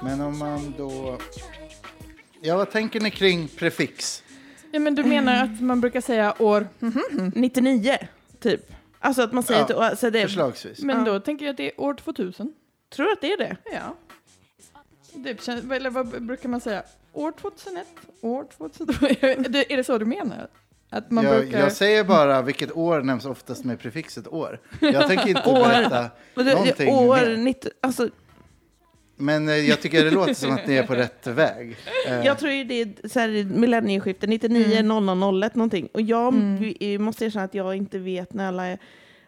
B: Men om man då... Ja, vad tänker ni kring prefix?
C: Ja, men du menar att man brukar säga år,
D: 99, Mm. typ. Alltså att man säger
B: Ja,
D: att alltså det,
B: Förslagsvis.
C: men
D: Ja.
C: då tänker jag att det är år 2000.
D: tror du att det är det.
C: Ja. Det känns, eller vad brukar man säga? År 2001? År 2002? Det- är det så du menar? Att man
B: Jag,
C: brukar...
B: jag säger bara vilket år nämns oftast med prefixet år. Jag tänker inte
D: År.
B: berätta.
D: Men det-
B: Någonting
D: det år
B: mer.
D: 90, alltså,
B: Men eh, jag tycker det låter som att ni är på rätt väg. Eh,
D: Jag tror ju det är så här, millennieskiftet, 99,
C: Mm.
D: 0001 någonting. Och jag
C: Mm.
D: vi- måste erkänna att jag inte vet när alla,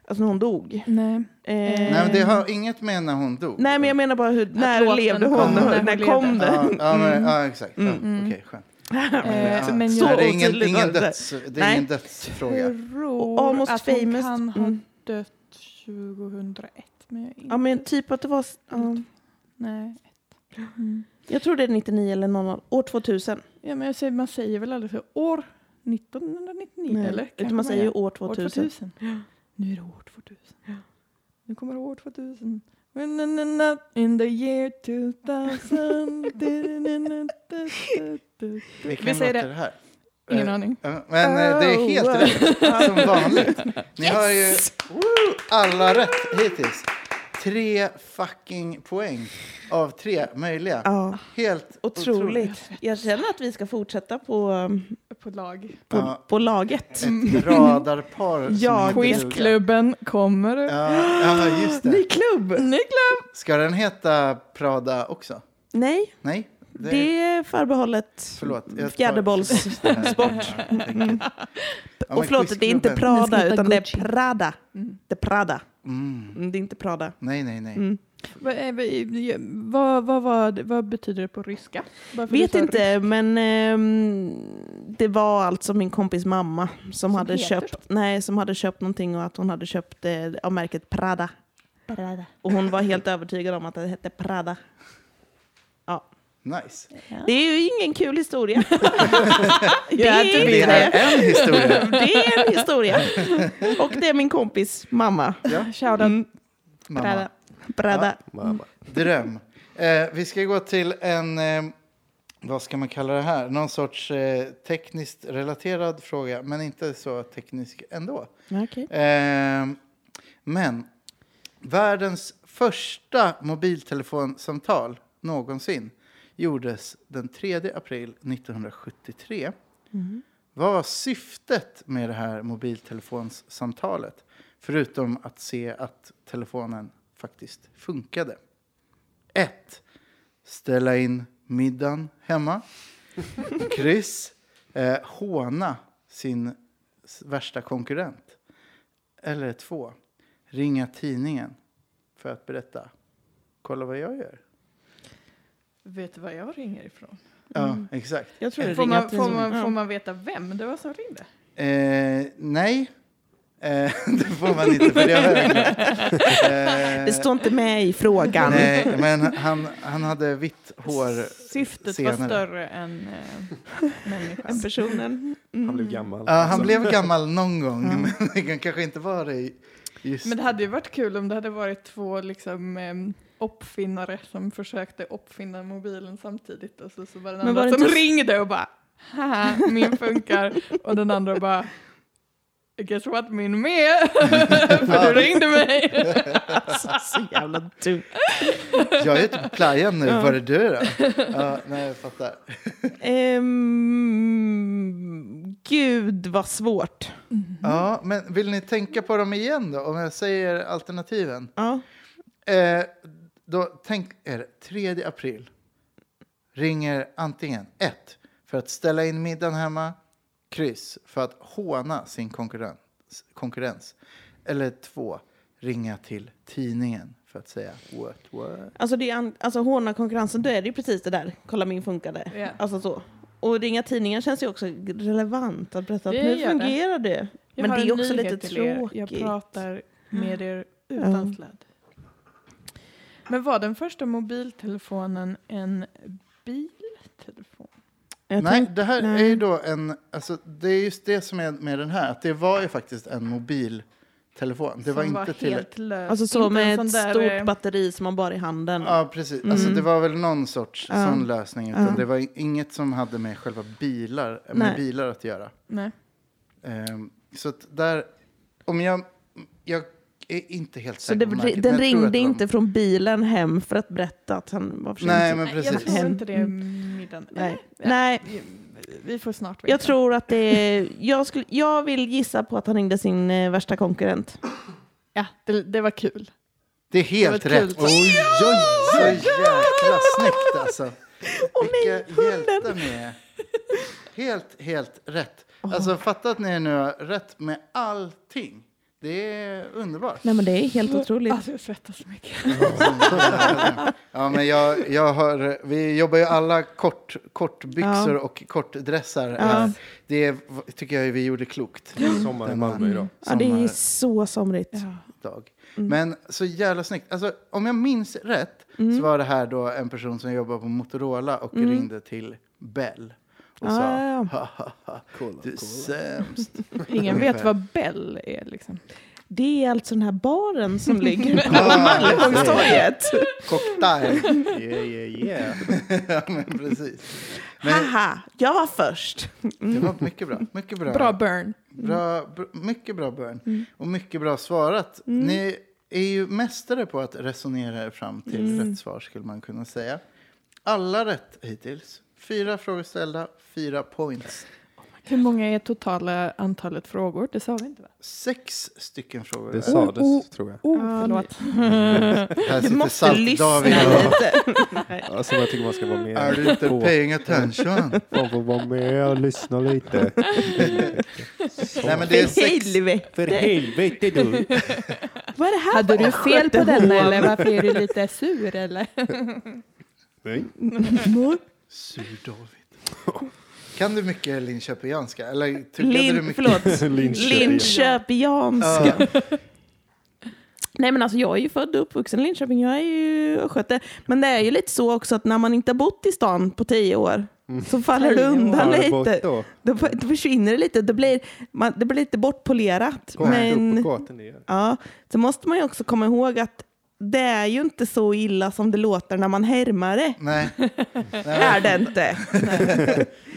D: alltså när hon dog.
C: Nej.
D: Eh,
B: Nej, men det har inget med när hon dog.
D: nej men jag menar bara hur, när
C: låten
D: levde hon?
B: kom,
D: när,
C: när
D: när
C: hon
D: kom
C: levde.
D: den?
B: Ja, ja, men, ja exakt. Ja, Okej,
C: Mm.
B: skönt.
C: Eh,
B: Ja.
C: men
B: Så
C: jag
B: det är ingen,
D: otydligt var
B: ingen,
D: det där.
B: döds, det är
D: Nej.
B: ingen dödsfråga.
C: tror
D: Och Almost
C: att hon
D: famous.
C: kan ha
D: Mm.
C: dött 2001. Men jag är inte...
D: Ja men typ att det var, ja.
C: Nej. Mm.
D: jag tror det är 99 eller 00, år 2000.
C: Ja, men jag säger, man säger väl aldrig så år 1999 eller? Kanske
D: Utan man säger ju
C: gör.
D: år 2000.
C: År 2000. Nu är det år 2000. Nu kommer år 2000. When in the night In the year 2000.
B: Vilken
C: Vi säger
B: låt
C: det.
B: är här?
C: Ingen
B: Eh,
C: aning.
B: ja, Men eh, det är helt rätt, som vanligt. Ni har ju woo, alla rätt hittills. Tre fucking poäng av tre möjliga.
D: Ja,
B: Helt otroligt.
D: otroligt. Jag känner att vi ska fortsätta på, um,
C: På lag.
D: på,
B: Ja. Mm.
D: på laget.
B: Ett radarpar Eh, som
D: Mm. Ja,
B: inte duger.
C: Quizklubben kommer.
B: Ja, ja, just det.
D: klubb!
C: Ny klubb!
B: Ska den heta Prada också?
D: Nej,
B: Nej? Det-
D: Det är förbehållet
B: Förlåt. jag tar-
D: fjäderbollssport.
B: Ja, jag tänker. Ja,
D: Och
B: men
D: förlåt, det är inte
B: quizklubben-
C: Men ska
D: Prada
C: heta
D: utan det är
C: Gucci.
D: Prada.
C: Mm.
D: Det är Prada.
B: Mm.
D: Mm, Det är inte Prada.
B: Nej, nej, nej.
D: Mm.
C: Vad, är- vad är- vad, vad, var det- vad betyder det på ryska? Varför
D: Vet
C: du sa rysk?
D: inte, men ehm, det var alltså min kompis mamma som, hade
C: heter
D: köpt nej, som hade köpt någonting och att hon hade köpt eh, av märket Prada. Prada. Och hon var helt övertygad om att det hette Prada.
B: Nice.
D: Det är ju ingen kul historia. det,
C: Jag är inte
D: är
B: Det
D: inte
B: här
D: det.
B: är en historia.
D: det är en historia. Och det är min kompis mamma.
B: Ja,
C: Shoutout
D: Mm,
B: mamma.
D: Prada.
A: Mamma.
B: Dröm. Eh, vi ska gå till en, eh, vad ska man kalla det här, någon sorts eh, tekniskt relaterad fråga, men inte så teknisk ändå.
D: Okej.
B: Eh, men världens första mobiltelefonsamtal någonsin gjordes den 3 april 1973.
D: Mm.
B: Vad var syftet med det här mobiltelefonssamtalet? Förutom att se att telefonen faktiskt funkade. 1. Ställa in middagen hemma. Kryss. Eh, håna sin s- värsta konkurrent. Eller 2. Ringa tidningen för att berätta. Kolla vad jag gör.
C: Vet du vad jag ringer ifrån?
B: Ja, exakt.
D: Jag tror det
C: Får
D: ringer
C: man,
D: till-
C: får, man,
D: Ja.
C: får man veta vem det var som ringde?
B: Eh, nej, eh, det får man inte för det har jag glömt. Eh,
D: Det står inte med i frågan.
B: Nej, men han, han hade vitt hår
C: Syftet var
B: senare.
C: större än eh, människan.
D: Den personen.
A: Han blev gammal.
B: Ja, han
A: Så-
B: blev gammal någon gång, men han kanske inte var det just
C: Mm. Men det hade ju varit kul om det hade varit två liksom, em, uppfinnare som försökte uppfinna mobilen samtidigt och så, så var den
D: Men
C: andra
D: var det
C: som
D: inte-
C: ringde och bara haha, min funkar och den andra bara Guess what, min med! För du ringde mig!
D: Alltså, så jävla dumt.
B: Jag är ute på playan nu, var det du då? Ja, nej, jag fattar.
D: Ehm, gud vad svårt.
B: Ja, men vill ni tänka på dem igen då, om jag säger alternativen?
D: Ja.
B: Eh, då tänk er 3 april. Ringer antingen 1 för att ställa in middagen hemma, kryss för att håna sin konkurrens, konkurrens. eller 2 ringa till tidningen för att säga what what.
D: Alltså, det är an- alltså håna konkurrensen, då är det ju precis det där. Kolla min funkade.
C: Ja.
D: Alltså så. Och ringa tidningen känns ju också relevant att berätta att
C: Det
D: nu
C: gör det.
D: fungerar det.
C: Jag
D: Men
C: har
D: det är
C: en
D: också
C: nyhet
D: lite
C: till er. Jag
D: tråkigt.
C: pratar med er utan
D: Ja.
C: sladd. Men var den första mobiltelefonen en biltelefon?
D: Jag
B: Nej,
D: tänk-
B: det här
D: nej.
B: är ju då en, alltså det är just det som är med den här, att det var ju faktiskt en mobiltelefon. Det var
C: som
B: inte
C: var
B: till...
C: helt lös.
D: Alltså så
C: Inte en
D: med
C: sån
D: ett
C: där,
D: stort
C: eh,
D: batteri som man bar i handen.
B: Ja, precis. Alltså,
D: Mm.
B: det var väl någon sorts
D: Ja.
B: sån lösning. Utan
D: Ja.
B: Det var i- inget som hade med själva bilar, med
D: Nej.
B: bilar att göra.
C: Nej.
B: Ehm, så att där, om jag, jag är inte helt
D: så
B: säker
D: det,
B: på märket,
D: den
B: men jag tror att
D: ringde
B: det var-
D: inte från bilen hem för att berätta att han var försenad.
B: Nej, men
C: Nej, Jag
B: precis.
C: tror inte det är
D: Mm.
C: middagen.
D: Nej.
C: Eller?
D: Nej.
C: Vi, vi får snart veta.
D: Jag tror att det är, jag, skulle, jag vill gissa på att han ringde sin eh, värsta konkurrent.
C: Ja, det, det var kul.
B: Det är helt
C: Det var
B: rätt.
C: kul.
B: Oj, oj, oj! Så
D: Oh
B: jäkla snyggt alltså.
D: Åh,
B: Vilka hjältar ni är. Helt, helt rätt. Alltså fatta att ni nu har rätt med allting. Det är underbart.
D: Nej men det är helt otroligt.
C: Alltså, jag svettas så mycket.
B: Ja, men jag, jag har, vi jobbar ju alla kort, kortbyxor och kortdressar. här. Det är- tycker jag vi gjorde klokt.
A: Sommar i Malmö idag.
D: Ja, det är
B: eh,
D: Mm. så somrigt.
B: Sommardag. Men så jävla snyggt. Alltså, om jag minns rätt
D: Mm.
B: så var det här då en person som jobbar på Motorola och ringde till Bell och sa
D: Ja, ja,
B: "Ha, ha, ha, du är sämst.
C: Ingen vet vad Bell är liksom.
D: Det är alltså den här baren som ligger på
B: Ah,
D: Malmborgstorget.
B: Cocktail.
A: Yeah, yeah, yeah.
B: ja, men precis. Men
D: Haha, jag var först.
B: det var mycket bra. Mycket bra.
C: Bra burn.
B: Bra, br- mycket bra Björn.
C: Mm.
B: Och mycket bra svarat.
D: Mm.
B: Ni är ju mästare på att resonera er fram till
D: Mm.
B: rätt svar skulle man kunna säga. Alla rätt hittills. Fyra frågor ställda, fyra points.
C: Hur många är totala antalet frågor? Det sa vi inte va?
B: Sex stycken frågor.
A: Det
B: där.
A: sades,
C: oh.
A: tror jag.
C: Oh,
D: Ja,
C: förlåt.
B: Här
D: Du
B: sitter
D: måste
B: Salt
D: lyssna
B: David och-
D: lite.
A: Alltså, jag tycker man ska vara med.
B: Är du inte
A: på.
B: paying attention?
A: Man får vara med och lyssna lite.
B: Nej, men det är
D: För
B: sex.
A: För
D: helvete.
A: helvete du!
D: Vad är det här
C: Hade du
D: för
C: fel på
D: östgötehov?
C: den eller varför är du lite sur eller?
A: Nej.
B: Sur David. Kan du mycket linköpingianska? Eller tuggade du
D: Lin,
B: mycket?
D: förlåt.
A: Linköping.
D: Linköpianska.
B: Ja.
D: Nej men alltså jag är ju född och uppvuxen i Linköping. Jag är ju östgöte. Men det är ju lite så också att när man inte har bott i stan på tio år
B: Mm.
D: så faller det
C: Tio år.
D: undan
A: Har du bott
D: lite.
A: då?
D: Då, f- då försvinner det lite. Det blir, man, det blir lite bortpolerat.
A: Gatan
D: men
A: upp och gatan ner.
D: ja, så måste man ju också komma ihåg att det är ju inte så illa som det låter när man härmar det.
B: Nej. Nej,
D: Är
B: men-
D: det inte.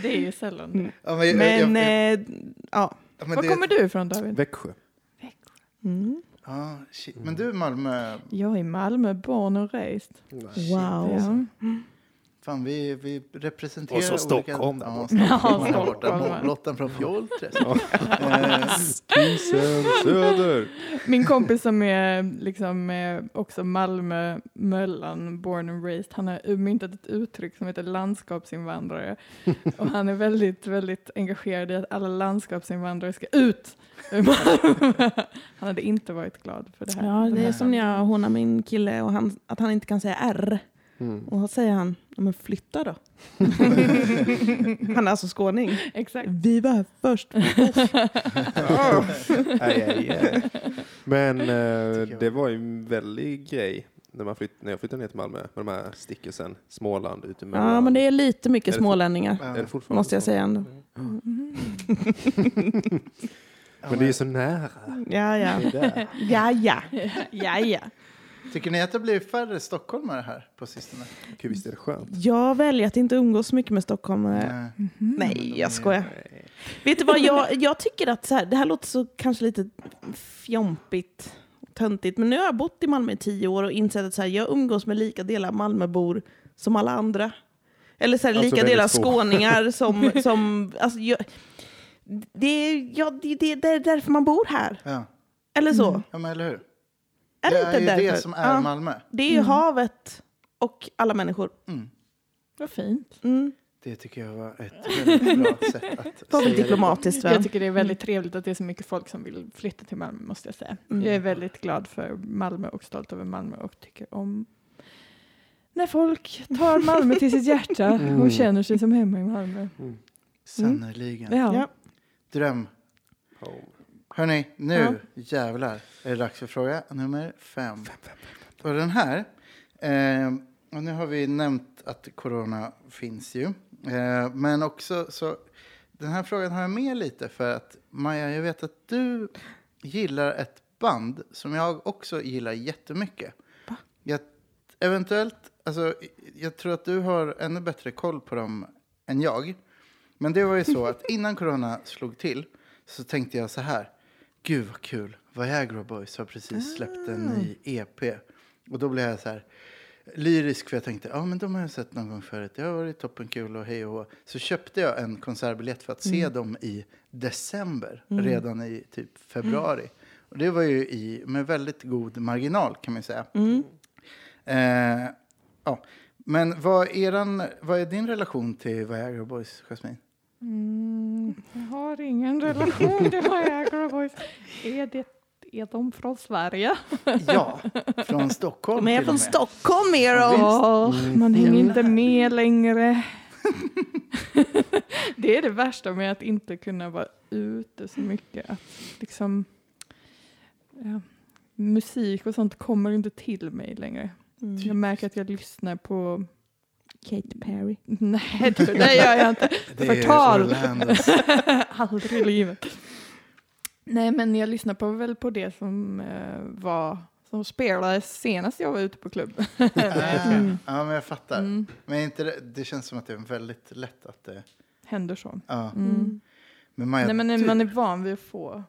C: Det är ju sällan det.
B: Ja, men, jag-
D: Men
B: jag-
D: eh, ja.
B: ja, men
C: Var
B: det-
C: kommer du ifrån David?
A: Växjö.
D: Mm.
B: Ja, shit. Men du Malmö,
C: Jag är i Malmö, born och raised.
D: Wow.
C: Ja.
B: fan vi, vi representerar
A: Och så Stockholm
B: olika...
A: där
B: Ja,
A: borta.
B: Stockholm.
C: Ja,
B: där borta.
C: Stockholm.
B: Lotten från Fjolträsk.
A: Ja.
B: Eh,
A: Tusen söder!
C: Min kompis som är liksom eh, också Malmö, Möllan, born and raised, han har myntat ett uttryck som heter landskapsinvandrare. Och han är väldigt, väldigt engagerad i att alla landskapsinvandrare ska ut ur Malmö. Han hade inte varit glad för det här.
D: Ja, det är som när jag hånar min kille och han, att han inte kan säga R.
A: Mm.
D: Och då säger han, ja, men flytta då. han är alltså skåning.
C: Exakt.
D: Vi var här först.
A: Aj, aj, aj. Men eh,
B: jag.
A: det var ju en väldig grej när, man flytt, när jag flyttade ner till Malmö med de här stickelsen. Småland, ute med
D: Ja, men det är lite mycket
A: Är det
D: smålänningar,
B: ja.
A: Är det fortfarande
D: måste jag
A: så?
D: säga ändå.
C: Mm-hmm.
B: Ja,
A: Men det är ju så nära.
D: Ja, ja.
A: Det är där.
D: Ja, ja. Ja, ja.
B: Tycker ni att det blir färre stockholmare här på sistone?
A: Gud, visst är det skönt?
D: Jag väljer att inte umgås så mycket med stockholmare.
B: Nej.
C: Mm-hmm.
D: Nej, jag skojar. Vet du vad, jag, jag tycker att så här, det här låter så kanske lite fjompigt och töntigt, men nu har jag bott i Malmö i tio år och insett att så här, jag umgås med lika delar Malmöbor som alla andra. Eller så här,
A: Alltså
D: lika
A: väldigt
D: delar
A: få.
D: skåningar som... som alltså, jag, det, är, ja, det, det, det är därför man bor här.
B: Ja.
D: Eller så.
C: Mm.
B: ja, men eller hur?
D: Är det,
B: det
D: inte
B: är ju
D: därför?
B: det som är
D: Ja,
B: Malmö.
D: det
C: Mm.
D: är ju havet och alla människor.
B: Mm.
C: Vad fint.
D: Mm.
B: Det tycker jag var ett väldigt bra sätt att
D: Det var väl
B: säga det.
D: diplomatiskt, va?
C: Jag tycker det är väldigt trevligt att det är så mycket folk som vill flytta till Malmö måste jag säga.
D: Mm.
C: Jag är väldigt glad för Malmö och stolt över Malmö och tycker om när folk tar Malmö till sitt hjärta
A: Mm.
C: och känner sig som hemma i Malmö.
B: Sannerligen.
C: Ja.
D: Ja.
B: Dröm. Hörni, nu jävlar är det dags för fråga nummer fem. Och den här, eh, och nu har vi nämnt att corona finns ju. Eh, men också så, den här frågan har jag med lite för att Maja, jag vet att du gillar ett band som jag också gillar jättemycket.
D: Va?
B: Jag, eventuellt, alltså jag tror att du har ännu bättre koll på dem än jag. Men det var ju så att innan corona slog till så tänkte jag så här. Gud vad kul, Viagra Boys har precis släppt en ny EP. Och då blev jag så här lyrisk för jag tänkte, ja men de har jag sett någon gång förut. Det har varit toppenkul och hej och hå." Så köpte jag en konsertbiljett för att se
C: Mm.
B: dem i december, redan i typ februari. Och det var ju i, med väldigt god marginal kan man ju säga.
D: Mm.
B: Eh, ja. Men vad är, eran, vad är din relation till Viagra Boys, Jasmin?
C: Mm, jag har ingen relation till Viagra Boys. Är, det, är de från Sverige?
B: Ja, från Stockholm
D: De är
B: till
D: från
B: och med.
D: Stockholm, är de!
C: Ja, man hänger
B: Mm.
C: inte med längre. det är det värsta med att inte kunna vara ute så mycket. Att liksom, ja, musik och sånt kommer inte till mig längre.
D: Mm.
C: Jag märker att jag lyssnar på...
D: Kate Perry.
C: Nej, du, det gör jag inte.
B: Det är
C: Förtal.
B: Orlandos.
C: Aldrig i livet. Nej, men jag lyssnar på väl på det som eh, var som spelades senast jag var ute på klubb.
D: Mm.
B: Ja, ja, men jag fattar.
C: Mm,
B: Men är inte det, det känns som att det är väldigt lätt att det...
C: händer så.
B: Ja. Typ-
C: Mm.
B: Men Maja,
C: Nej, men
B: du,
C: när man är van vid att få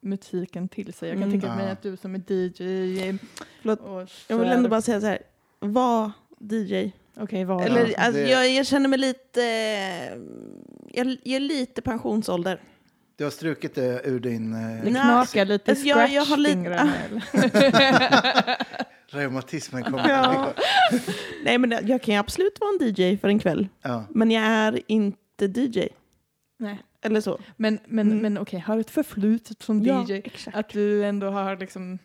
C: musiken till sig. Jag kan
D: Mm.
C: tänka mig
B: Ja.
C: att du som är DJ...
D: Förlåt,
C: Och
D: Jag vill ändå bara säga så här. Var DJ.
C: Okej, var
D: Eller,
B: det-
D: alltså, jag, jag känner mig lite... eh, Jag, jag är lite pensionsålder.
B: Du har strukit det ur din eh,
C: Det
D: Nej,
C: knakar lite i
D: alltså, jag- jag har lite-
C: scratchfingrarna. eller?
B: reumatismen. Kommer
D: Ja. Nej, men jag kan ju absolut vara en DJ för en kväll.
B: Ja.
D: Men jag är inte DJ.
C: Nej.
D: Eller så.
C: Men, men,
D: Mm.
C: men okej, har ett förflutet som
D: Ja,
C: DJ.
D: exakt.
C: Att du ändå har liksom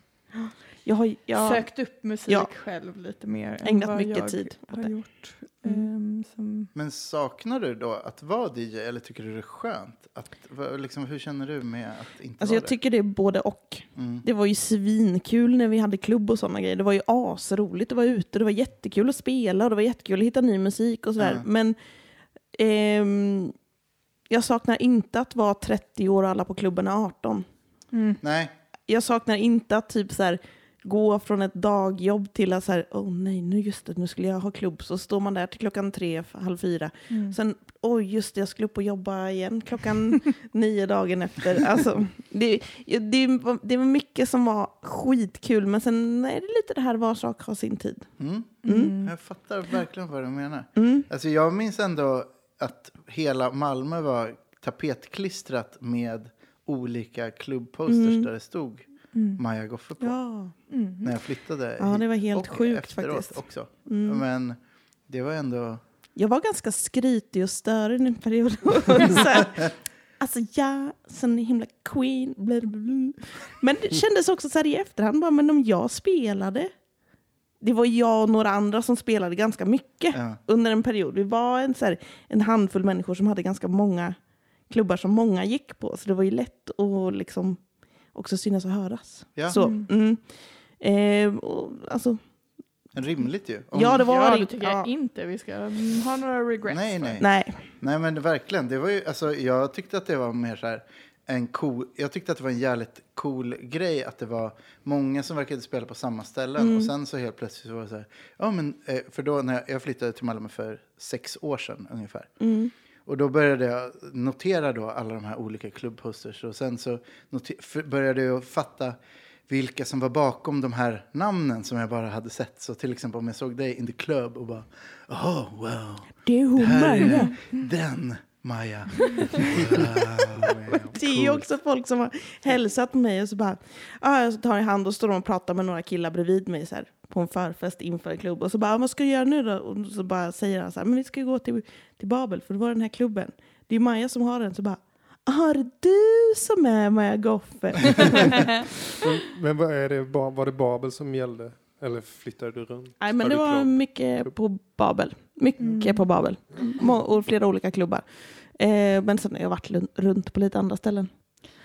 D: Jag har jag,
C: sökt upp musik
D: Ja.
C: själv lite mer. än
D: ägnat
C: vad
D: mycket
C: jag
D: tid åt
C: Har
D: det.
C: gjort.
D: Mm.
C: ehm, som,
B: Men saknar du då att vara DJ eller tycker du det är skönt? Att, vad- liksom, hur känner du med att inte
D: Alltså,
B: vara
D: jag tycker det är både och.
B: det? Mm.
D: Det var ju svinkul när vi hade klubb och sådana grejer. Det var ju asroligt att vara ute. Det var jättekul att spela och det var jättekul att hitta ny musik och sådär.
B: Ja.
D: Men ehm, jag saknar inte att vara 30 år och alla på klubben är 18.
C: mm.
B: Nej,
D: Jag saknar inte att typ så här, gå från ett dagjobb till att så här, åh oh, nej, nu just det, nu skulle jag ha klubb. Så står man där till klockan tre, halv fyra.
C: Mm.
D: Sen, oj just det, jag skulle upp och jobba igen klockan nio dagen efter. Alltså, det, det, var- det var mycket som var skitkul, men sen är det lite det här var sak har sin tid.
B: mm.
C: Mm.
B: jag fattar verkligen vad du menar.
D: Mm.
B: Alltså, jag minns ändå att hela Malmö var tapetklistrat med olika klubbposters
D: Mm.
B: där det stod
C: Mm.
B: Maja Goffe på.
D: Ja.
C: Mm.
B: När jag flyttade
D: ja,
B: hit
D: det var helt
B: och
D: sjukt
B: efteråt
D: faktiskt.
B: också.
D: Mm.
B: Men det var ändå...
D: Jag var ganska skrytig och störig i en period. så här, alltså jag, sån himla queen. Bla, bla, bla. Men det kändes också så här i efterhand, bara, men om jag spelade, det var jag och några andra som spelade ganska mycket.
B: Ja.
D: under en period. Vi var en, så här, en handfull människor som hade ganska många klubbar som många gick på. Så det var ju lätt att liksom också synas och höras.
B: Ja.
D: Så,
C: Mm.
D: mm. Eh, och, alltså,
B: Rimligt ju. Om-
D: ja, det var
C: Ja,
D: det.
C: det tycker jag inte vi ska mm, ha några regrets
B: Nej,
C: för.
B: nej.
D: Nej.
B: Nej men verkligen, det var ju, alltså, jag tyckte att det var mer så här en cool, jag tyckte att det var en jävligt cool grej att det var många som verkade spela på samma ställen och sen så helt plötsligt så var det så här, ja men, eh, för då när jag, jag flyttade till Malmö för sex år sedan ungefär.
D: Mm.
B: Och då började jag notera då alla de här olika klubbhusters och sen så noter, för, började jag fatta vilka som var bakom de här namnen som jag bara hade sett. Så till exempel om jag såg dig in the club och bara, oh wow.
D: Det är hon
B: Det här
D: Maja.
B: är den Maja.
D: Det är ju också folk som har hälsat på mig och så bara, ah, jag tar i hand och står de och pratar med några killar bredvid mig så här, på en förfest inför en klubb. Och så bara, ah, vad ska du göra nu då? Och så bara säger han så här, men vi ska ju gå till, till Babel för det var den här klubben. Det är ju Maja som har den. Så bara, ah, är det du som är Maja Goffe?
A: Men vad är det, Ba- var det Babel som gällde? Eller flyttade du runt?
D: Nej, men
A: Var
D: det
A: du
D: var
A: klar?
D: mycket på Babel. Mycket
C: Mm.
D: på Babel. Må- Och flera olika klubbar. Eh, men sen har jag varit lun- runt på lite andra ställen.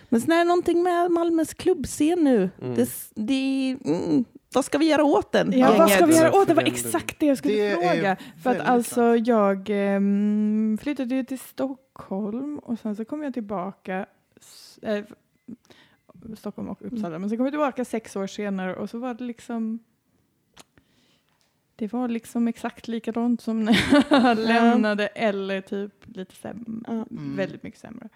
D: Men sen är det någonting med Malmös klubbscen nu.
A: Mm.
D: Det, s- det, mm, vad ska vi göra åt den?
C: Ja, vad ska vi
D: gänget?
C: göra åt det?
A: För
C: var
A: den
C: exakt det jag skulle
B: Det är
C: fråga. För att
B: väldigt
C: alltså
B: sant.
C: jag ehm, flyttade ju till Stockholm och sen så kom jag tillbaka s- eh, Stockholm och Uppsala,
D: Mm.
C: men sen kom jag tillbaka sex år senare och så var det liksom det var liksom exakt likadant som när jag lämnade eller typ lite sämre,
D: Ja.
B: Mm.
C: väldigt mycket sämre.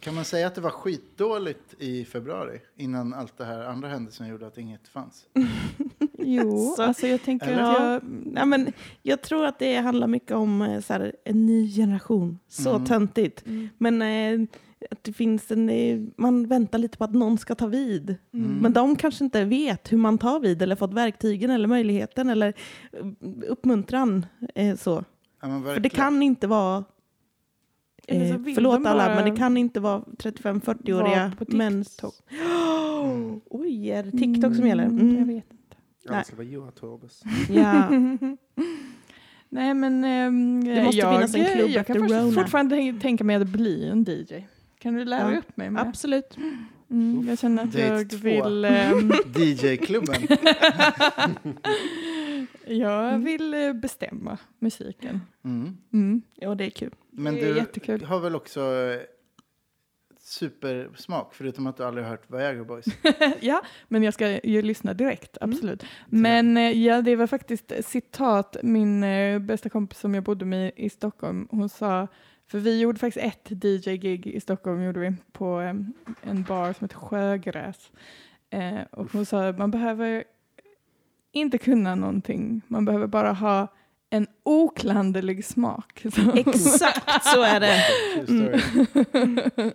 B: Kan man säga att det var skitdåligt i februari innan allt det här andra hände som gjorde att inget fanns?
C: Jo,
D: Så-
C: alltså jag tänker
B: Eller?
C: att
D: Ja.
C: jag,
D: Nej, men jag tror att det handlar mycket om eh, så här, en ny generation. Så
B: Mm.
D: töntigt.
C: Mm.
D: Men eh, att det finns en, eh, man väntar lite på att någon ska ta vid.
B: Mm.
D: Men de kanske inte vet hur man tar vid eller fått verktygen eller möjligheten eller eh, uppmuntran. Eh, så.
B: Ja, men
D: För det
B: verkligen.
D: kan inte vara,
C: Eller så
D: eh,
C: vill
D: förlåt
C: de
D: alla,
C: bara
D: men det kan inte vara 35-40-åriga
C: vara på
D: män.
C: TikTok.
B: Mm.
D: Oj, är det TikTok som gäller?
C: Mm, jag
D: Mm.
C: vet.
A: Ja, det ska vara Johan Torbes.
D: Ja.
C: Nej men ehm,
D: Det måste
C: jag,
D: finnas en klubb
C: jag
D: efter
C: kan först,
D: Rona.
C: fortfarande tänk- tänka mig att bli en DJ. Kan du lära
D: Ja.
C: upp mig med?
D: Absolut.
C: Mm, jag känner att
B: Date
C: jag
B: två.
C: vill, ehm,
B: DJ-klubben.
C: jag
D: Mm.
C: vill eh, bestämma musiken.
B: Mm.
C: Mm.
D: Ja, det är kul.
B: Men
C: Det är
B: du
C: jättekul.
B: har väl också eh, supersmak, förutom att du aldrig har hört Viagra Boys.
C: ja, men jag ska ju lyssna direkt,
D: Mm.
C: absolut. Men eh, ja, det var faktiskt citat, min eh, bästa kompis som jag bodde med i Stockholm, hon sa, för vi gjorde faktiskt ett DJ-gig i Stockholm, gjorde vi, på eh, en bar som heter Sjögräs. Eh, och hon sa, man behöver inte kunna någonting, man behöver bara ha en oklanderlig smak. Så-
D: Exakt så är det.
B: True story.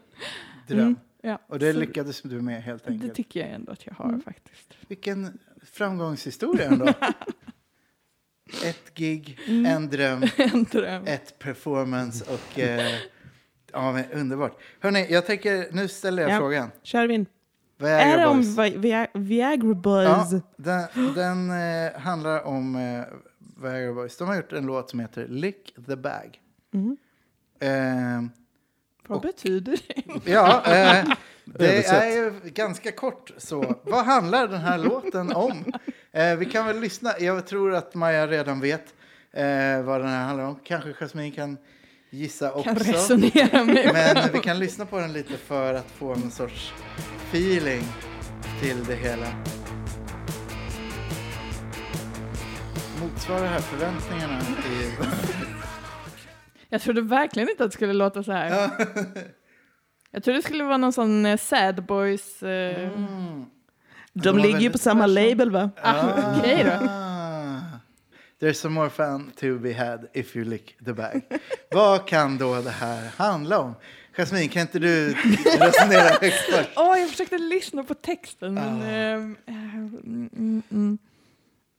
B: Dröm.
D: Mm.
C: Ja,
B: Och det
C: så
B: lyckades du med helt
C: Det
B: enkelt.
C: tycker jag ändå att jag har
D: Mm.
C: faktiskt.
B: Vilken framgångshistoria ändå. Ett gig,
D: Mm. Eh,
B: en dröm,
C: En dröm.
B: ett performance och... Eh, ja, men underbart. Hörni, jag tänker, nu ställer jag
D: Ja.
B: frågan.
D: Kör vi in.
B: Viagra
D: Är det om
B: Boys.
D: Vi- Vi- Viagra Boys?
B: Ja, den den eh, handlar om eh, Viagra Boys. De har gjort en låt som heter Lick the Bag.
D: Mm.
B: Eh,
C: Vad
B: Och-
C: betyder det?
B: ja, eh, det
A: Översätt.
B: är ju ganska kort så. Vad handlar den här låten om? Eh, vi kan väl lyssna. Jag tror att Maja redan vet eh, vad den här handlar om. Kanske Jasmine kan gissa också.
C: Kan resonera med
B: Men vi kan lyssna på den lite för att få en sorts feeling till det hela. Motsvarar det här förväntningarna? I...
C: Jag trodde verkligen inte att det skulle låta så här. Jag trodde det skulle vara någon sån eh, sad boys... Eh,
B: Mm.
D: De
B: De har
D: ligger ju på
B: väldigt
D: samma
B: diverse.
D: label va?
C: Ah, okej då.
B: Ah. There's some more fun to be had if you lick the bag. Vad kan då det här handla om? Jasmine, kan inte du resonera högt först?
C: Åh, jag försökte lyssna på texten men...
B: Ah.
C: ehm, eh, mm, mm,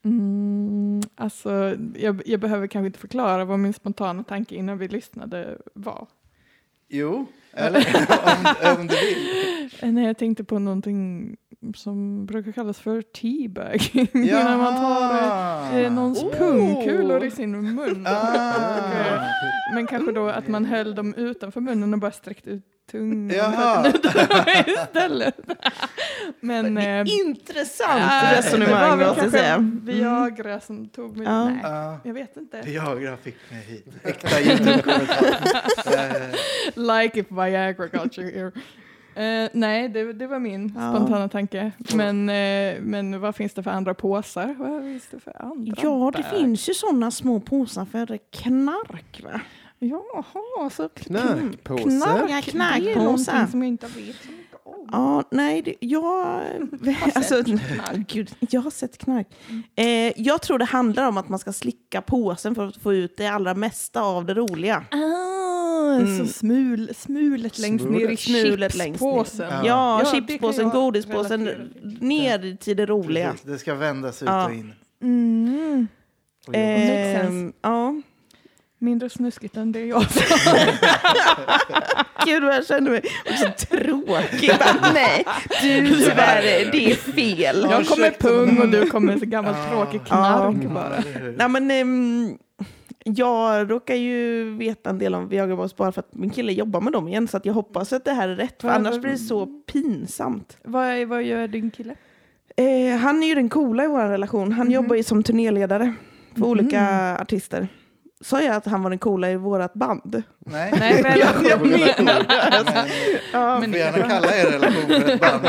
C: mm, alltså, jag, jag behöver kanske inte förklara vad min spontana tanke innan vi lyssnade var.
B: Jo, eller om, om du vill.
C: Eh, Nej, jag tänkte på någonting som brukar kallas för teabag. När man tar eh, eh, någons
D: Oh.
C: pungkulor i sin mun. eh,
B: Ah.
C: Men kanske då att man höll dem utanför munnen och bara sträckte ut tungan
B: Jaha.
C: istället. Men... eh,
D: Intressant
C: äh, det var
D: resonemang
C: väl
D: måste jag
C: kanske
D: säga. Mm.
C: Viagra som tog mig...
D: Ja.
C: Nej,
B: Ja.
C: jag vet inte.
B: Viagra fick mig hit. Äkta Youtube-kommentar. Eh,
C: Like if Viagra got you here. Eh, nej, det, det var min
D: Ja.
C: spontana tanke. Men, eh, men vad finns det för andra påsar? Vad finns det för andra?
D: Ja, det
C: bag?
D: finns ju sådana små påsar för knark va?
C: Jaha, så
A: Knarkpåse.
D: Ja,
C: det är någonting
D: knarkpåsar.
C: som jag inte vet så mycket om.
D: Ja, nej, det, jag... Alltså, gud, jag har sett knark. Eh, jag tror det handlar om att man ska slicka påsen för att få ut det allra mesta av det roliga.
C: Ah,
D: Mm.
C: så smul, smulet längst ner i
D: Smulet längst ner.
C: chipspåsen.
B: Ja.
D: Ja,
C: Ja, det kan
D: chipspåsen,
C: jag
D: godispåsen,
C: relatera
D: ner till det roliga.
B: Precis, det ska vändas ut
D: Ja.
B: och in.
C: Mm.
B: Och jobba.
C: Makes
D: Ehm,
C: sense.
D: ja.
C: Mindre snuskigt än det jag sa.
D: Gud vad jag känner mig också tråkig. Bara, Nej, du tyvärr, det är fel.
B: Ja,
C: Jag kommer
B: ursäkta,
C: pung och
B: men-
C: du kommer så gammalt
B: Ja.
C: tråkig
D: Ja.
C: knark bara.
B: Eller hur?
D: Nej, men, ehm, jag råkar ju veta en del om Viagra Boys bara för att min kille jobbar med dem igen så att jag hoppas att det här är rätt för
C: Vad-
D: annars blir det så pinsamt.
C: Vad, vad gör din kille?
D: Eh, han är ju den coola i vår relation. Han
C: Mhm.
D: jobbar ju som turnéledare för olika
C: Mhm.
D: artister. Sa jag att han var den coola i vårt band?
B: Nej,
C: Nej, men jag,
B: men
D: Ja,
B: du får gärna kalla er relation för ett band.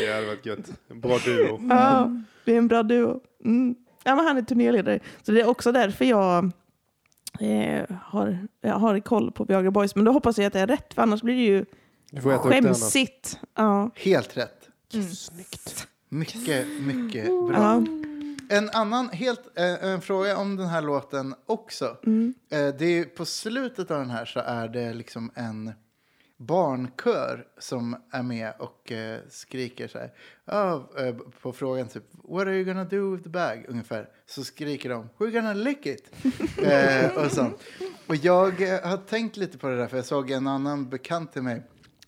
A: Det hade varit gött. Bra duo.
C: Mm.
D: Ja,
B: Mm.
D: vi är en bra duo. Mm. Ja, men han är turnéledare. Så det är också därför jag, eh, har, jag har koll på Viagra Boys. Men då hoppas jag att det är rätt, för annars blir det ju
A: Du får äta upp det annars.
D: skämsigt. Ja.
B: Helt rätt.
A: Snyggt.
B: Mycket, mycket bra.
D: Ja.
B: En annan helt, eh, en fråga om den här låten också.
D: Mm.
B: Eh, det är, på slutet av den här så är det liksom en barnkör som är med och eh, skriker så här. Ja, eh, på frågan typ What are you gonna do with the bag? Ungefär. Så skriker de We're gonna lick it. eh, och sånt. Och jag eh, har tänkt lite på det där för jag såg en annan bekant till mig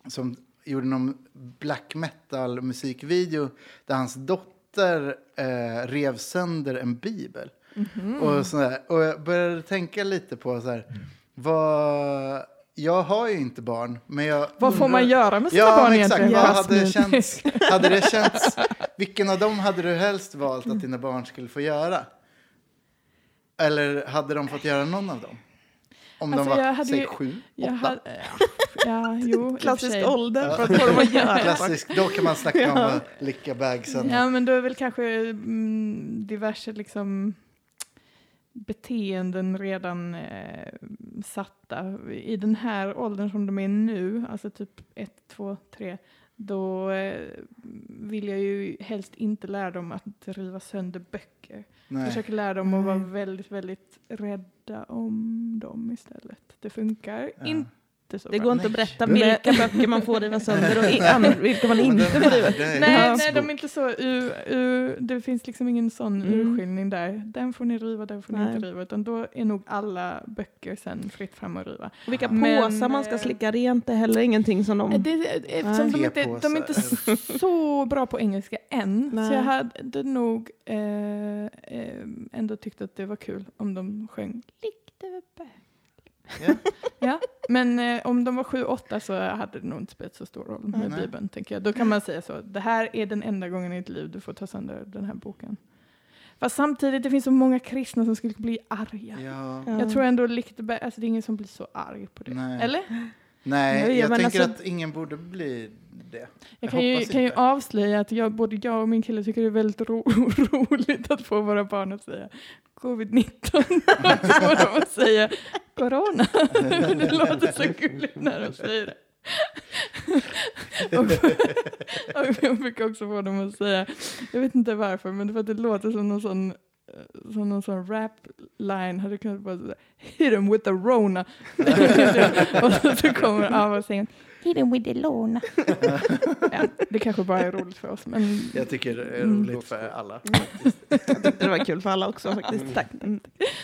B: som gjorde någon black metal musikvideo där hans dotter eh, rev sönder en bibel.
C: Mhm.
B: Och, sådär. och jag började tänka lite på så här, vad... Jag har ju inte barn, men jag...
C: vad får man göra med sina
B: Mm. Ja,
C: barn
B: men exakt.
C: egentligen?
B: Vad hade,
C: Jasmin?
B: känts, hade det känts... Vilken av dem hade du helst valt att dina barn skulle få göra? Eller hade de fått göra någon av dem? Om
C: Alltså,
B: de
C: jag
B: var,
C: hade
B: säg
C: ju-
B: sju,
C: Jag
B: åtta?
C: hade, ja, jo, i och för sig.
D: Klassisk ålder för att få dem att göra.
B: Klassisk, då kan man snacka om att licka bagsen.
C: Ja, men då är väl kanske mm, diverse liksom, beteenden redan eh, satta. I den här åldern som de är nu, alltså typ ett, två, tre, då eh, vill jag ju helst inte lära dem att riva sönder böcker. Jag
B: Nej.
C: försöker lära dem att vara
D: Nej.
C: väldigt, väldigt rädda om dem istället. Det funkar
B: Ja.
C: inte så
D: Det
C: bra.
D: går inte att berätta
B: Men-
D: vilka böcker man får riva sönder och i- an- vilka man
B: Men
D: inte
B: den-
D: får riva.
B: den är
C: Nej,
B: hans
C: nej, de är
B: bok.
C: inte så. U, u, det finns liksom ingen sån
D: Mm.
C: urskiljning där. Den får ni riva, den får ni
D: Nej.
C: inte riva. Utan då är nog alla böcker sen fritt fram att riva.
D: Och vilka
C: Men,
D: påsar man ska
C: eh,
D: slicka rent är heller ingenting som de...
C: Det, eftersom de, inte, de är inte så bra på engelska än.
D: Nej.
C: Så jag hade nog eh, eh, ändå tyckt att det var kul om de sjöng Likte
B: Ja.
C: ja, men eh, om de var sju, åtta så hade det nog inte spelat så stor roll med
B: Nej.
C: Bibeln, tänker jag. Då kan man säga så, det här är den enda gången i ditt liv du får ta sönder den här boken. Fast samtidigt, det finns så många kristna som skulle bli arga.
B: Ja.
D: Ja.
C: Jag tror ändå Lichtenberg, alltså det är ingen som blir så arg på det.
B: Nej.
C: Eller?
B: Nej,
D: Nej,
B: jag
D: men
B: tänker
D: alltså-
B: att ingen borde bli det.
C: Jag
B: Jag
C: kan ju,
B: hoppas
C: kan ju
B: inte.
C: avslöja att jag, både jag och min kille tycker det är väldigt ro roligt att få våra barn att säga covid-19. Att få dem att säga corona. Det låter så gulligt när de säger det. och, och jag brukar också få dem att säga, jag vet inte varför, men det var att det låter som någon sån eh, som någon sån rap-line hade kunnat bara säga Hit 'em with the Rona. och så- så kommer Ava och säger Hit 'em with the Lona. ja, det kanske bara är roligt för oss. Men
B: Jag tycker det är
C: Mm.
B: roligt för alla.
D: Jag tyckte det var kul för alla också faktiskt. Tack. Mm.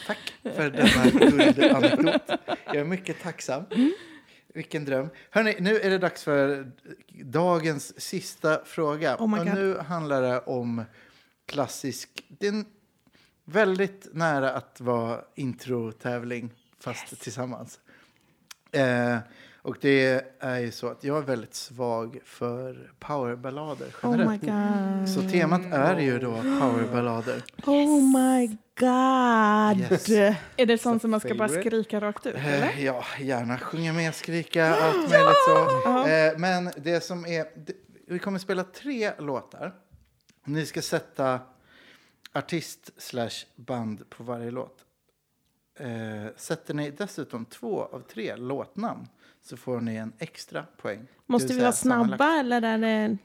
B: Tack för denna guldanekdot. Jag är mycket tacksam. Vilken dröm. Hörrni, nu är det dags för dagens sista fråga.
D: Oh my
B: och
D: God.
B: nu handlar det om klassisk... Det är en väldigt nära att vara introtävling, fast tillsammans. Eh, och det är ju så att jag är väldigt svag för powerballader
D: Oh my
B: generellt.
D: god.
B: så temat är ju då powerballader.
D: Oh my god.
B: Yes.
C: är det sånt som man ska bara
A: Favorite?
C: skrika rakt ut?
D: typ,
C: Eller?
B: Eh, Ja, gärna sjunga med, skrika, allt möjligt så. Eh, Men det som är... det- Vi kommer spela tre låtar. Ni ska sätta artist slash band på varje låt. Eh, Sätter ni dessutom två av tre låtnamn så får ni en extra poäng. Det
D: Måste
B: vill
D: vi vara
B: säga sammanlagt.
D: snabba eller är det...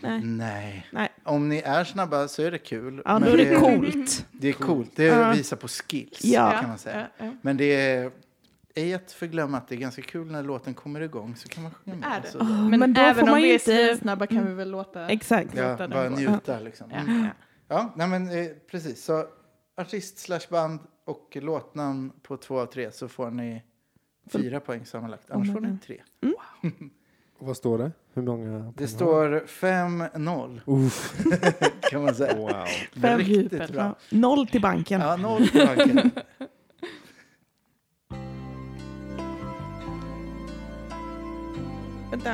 D: Nej.
B: Nej.
D: Nej.
B: Om ni är snabba så är det kul.
D: Ja,
B: men
D: då är det coolt.
B: Det är coolt. Det
D: Ja.
B: visar på skills
D: Ja.
B: kan man säga.
C: Ja, ja.
B: Men det är ej att förglömma att det är ganska kul när låten kommer igång så kan man sjunga med. Alltså,
C: Är det?
B: Så,
C: Men,
D: Oh, Mm. Men då
C: även
D: får
C: om
D: man
C: vi
D: ju
C: är Mm.
D: inte...
C: snabba kan vi väl låta...
D: Exakt.
B: ja,
C: Låta den
B: bara
C: gå.
B: njuta liksom.
C: Ja,
B: Mm.
C: ja.
B: Ja, nej men eh, precis. Så artist slash band och låtnamn på två av tre så får ni fyra poäng sammanlagt. Annars
D: my
B: får ni
D: God.
B: tre.
A: Och vad står det? Hur många?
B: Det står 5-0
A: Uff.
B: kan man säga.
A: Wow.
D: Fem
B: Riktigt
D: djupet,
B: bra.
D: ja. Noll till banken.
B: Ja, noll till banken.
D: Vänta.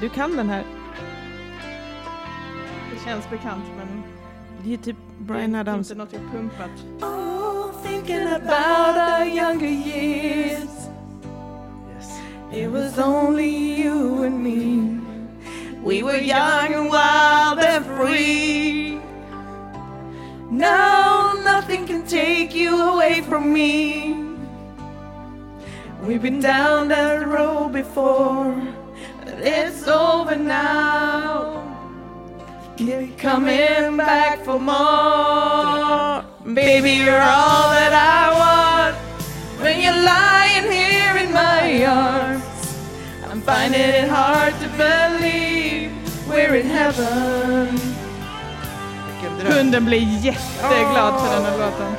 D: Du kan den här.
C: Det känns bekant men
D: Det är ju typ
C: det
D: Brian
C: är
D: Adams.
C: inte något jag pumpat.
E: Oh, thinking about our younger years.
B: Yes.
E: It was only you and me. We were young and wild and free. Now nothing can take you away from me. We've been down that road before, but it's over now. Keep coming back for more. Baby, you're all that I want. When you're lying here in my arms, I'm finding it hard to believe we're in heaven.
B: Vilken dröm.
C: Hunden blir jätteglad för den här låten.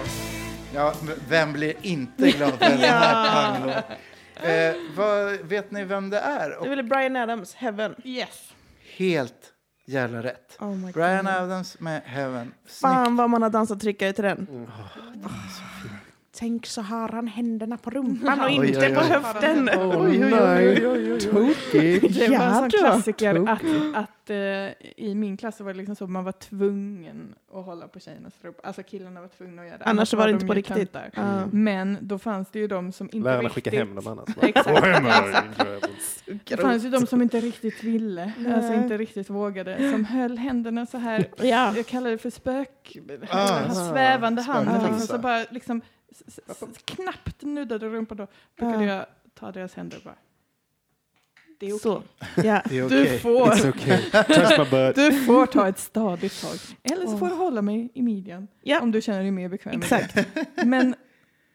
B: Ja, men vem blir inte glad för den här panglåten? Eh, vad, vet ni vem det är?
D: Det
B: Och
D: är väl Brian Adams, Heaven.
C: Yes.
B: helt jävla rätt.
D: Oh my
B: Brian Adams med Heaven. Snyggt.
D: Fan vad man har dansat tryckare till den. Tänk så har han händerna på rumpan och
B: Oj,
D: inte
B: oj, oj.
D: på höften.
A: Oj, oj, oj, oj, oj. Tokigt.
C: Det var en sån
D: Jädra.
C: klassiker att, att eh, i min klass så var det liksom så man var tvungen att hålla på tjejernas rop. Alltså killarna var tvungna att göra det.
D: Annars så var det inte
C: de
D: på
C: ju
D: riktigt.
C: töntar.
D: Ja.
C: Men då fanns det ju de som inte
A: Lärarna
C: riktigt...
A: skickar hem dem annars.
C: Exakt. Det fanns ju de som inte riktigt ville, alltså
D: Nej. Ah.
C: inte riktigt vågade, som höll händerna så här.
D: Ja.
C: Jag kallar det för spök,
B: Ah.
C: hans svävande hand.
B: Spökfissa.
C: Liksom, så bara liksom, s- s- s- knappt nuddade rumpan då brukade
D: Ja.
C: jag tar deras händer och bara. Det är okej.
D: Så. Ja.
B: Det är
C: Du
B: okej.
C: får.
A: It's okay. Touch my butt.
C: Du får ta ett stadigt tag. Eller så
D: Åh.
C: får du hålla mig i midjan.
D: Ja.
C: Om du känner dig mer bekväm. med det.
D: Exakt.
C: Men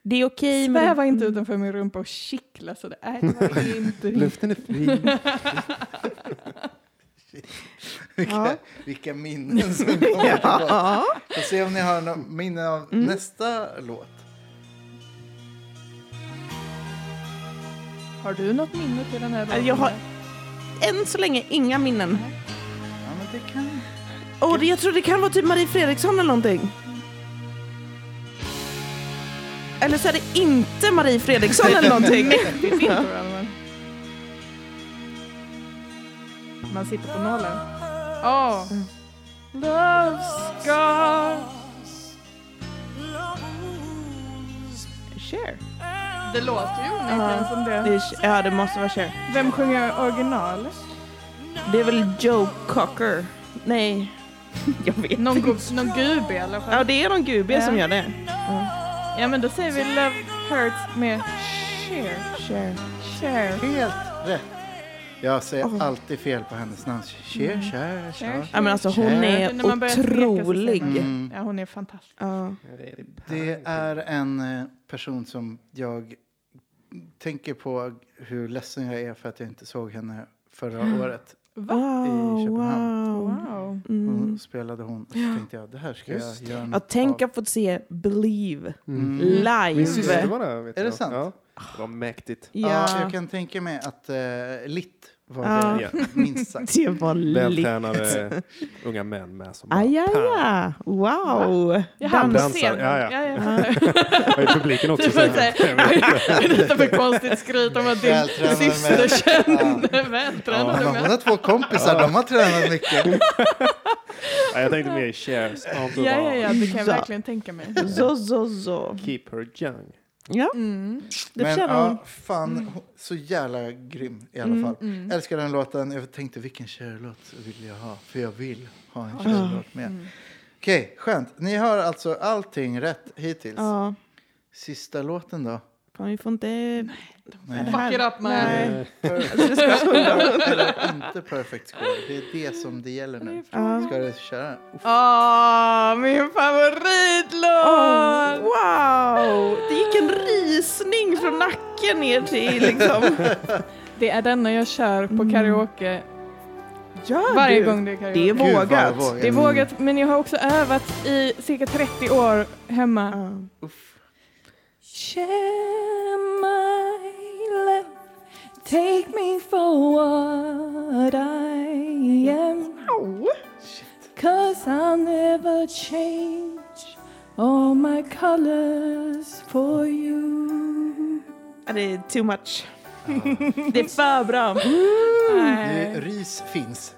D: Det är okej. men-
C: sväva inte utanför min rumpa och kittla så det är det inte.
A: Luften är fri.
B: Vilka,
D: Ja.
B: vilka minnen som
D: Mm.
B: kommer tillbaka.
D: Ja.
B: Får se om ni har något minne av
D: Mm.
B: nästa låt.
C: Har du något minne till den här dagen?
D: Alltså, Jag har- Än så länge inga minnen.
B: Ja, men det kan...
D: Och det- jag tror det kan vara typ Marie Fredriksson eller någonting. Eller så är det inte Marie Fredriksson eller någonting.
C: Man sitter på nollan. Ja. Love scars.
D: Cher.
C: Det låter ju onekligen som
D: Ja,
C: det.
D: det, är- ja, det måste vara Cher.
C: Vem sjunger original?
D: Det är väl Joe Cocker. Nej, jag vet
C: Någon,
D: inte.
C: gu- någon gubbe i alla fall.
D: Ja, det är någon gubbe
C: Ja.
D: som gör det.
C: Ja men då säger vi Love Hurts med Cher.
D: Cher.
C: Cher.
B: Helt rätt. Jag säger alltid fel på hennes namn.
D: Mm.
B: Cher, cher, cher.
C: Cher.
D: Ja, men alltså hon
B: Cher.
D: är
C: När man börjar tveka så säger man-
D: otrolig.
B: Mm.
C: Ja hon är fantastisk.
D: Ja.
B: Det är en eh, person som jag tänker på hur ledsen jag är för att jag inte såg henne
D: Mm.
B: förra året.
D: Wow,
B: I Köpenhamn.
D: wow.
C: Wow.
B: Hon
D: Mm.
B: spelade hon. Och så tänkte jag, det här ska jag
A: Just
B: göra något
D: Att tänka
B: av.
D: få se Believe
B: Mm.
A: Min
D: live.
A: syster var där. Vet
B: Är
A: jag.
B: det sant?
A: Ja. Det var mäktigt.
B: Ja.
D: Ja,
B: jag kan tänka mig att eh, Litt var
D: Ja.
B: det, minst sagt.
D: det var lit.
A: Vältränade unga män med som bara pam.
D: Ajaja, wow.
C: Jaha, på
A: Dansar,
C: scenen.
A: ja, ja.
C: jag
D: Ja.
C: fattar.
A: Och i publiken också.
C: Du får
A: sen.
C: säga, vad är detta för konstigt skryt om att din
B: Vältränad män.
C: syster känner
B: Ja,
C: vältränad
B: men hon
C: ja.
B: har två kompisar, de har tränat mycket.
A: Ja, jag tänkte mer i shares. Ja,
C: ja, ja, ja, det kan jag
D: Ja.
C: verkligen tänka mig.
D: Så, så, så.
A: Keep her young.
D: Ja,
C: Mm.
D: det
B: Men
D: förtjänar hon.
B: ja, fan, hon- så jävla grym i alla
D: Mm,
B: fall.
C: Mm.
B: Älskar den låten. Jag tänkte vilken Cher-låt vill jag ha? För jag vill ha en
C: Ja.
B: Cher-låt med.
C: Mm.
B: Okej, skönt. Ni har alltså allting rätt hittills.
D: Ja,
B: Sista låten då?
D: fan vi får inte...
B: Nej.
C: Fuck it up man.
D: Nej.
A: Eh,
B: Eller inte perfect score. Det är det som det gäller nu.
D: Ja.
B: Ska du köra?
C: Åh, Ah, min favoritlåt!
D: Åh, Oh,
C: Oh.
D: wow! Det gick en risning från nacken ner till liksom...
C: Det är denna jag kör på
D: Mm.
C: karaoke
D: Gör
C: varje
D: du?
C: gång Ah, det är karaoke.
D: Det är
B: Gud, vad jag
D: vågat.
B: vågar.
C: Det är vågat, men jag har också övat i cirka 30 år hemma.
D: Ja.
E: Share my love, take me for what I am. Cause I'll never change all my colors for you.
D: Ja, Det är too much. Det är för bra.
C: Mm.
D: Eh.
B: Det- Ris finns.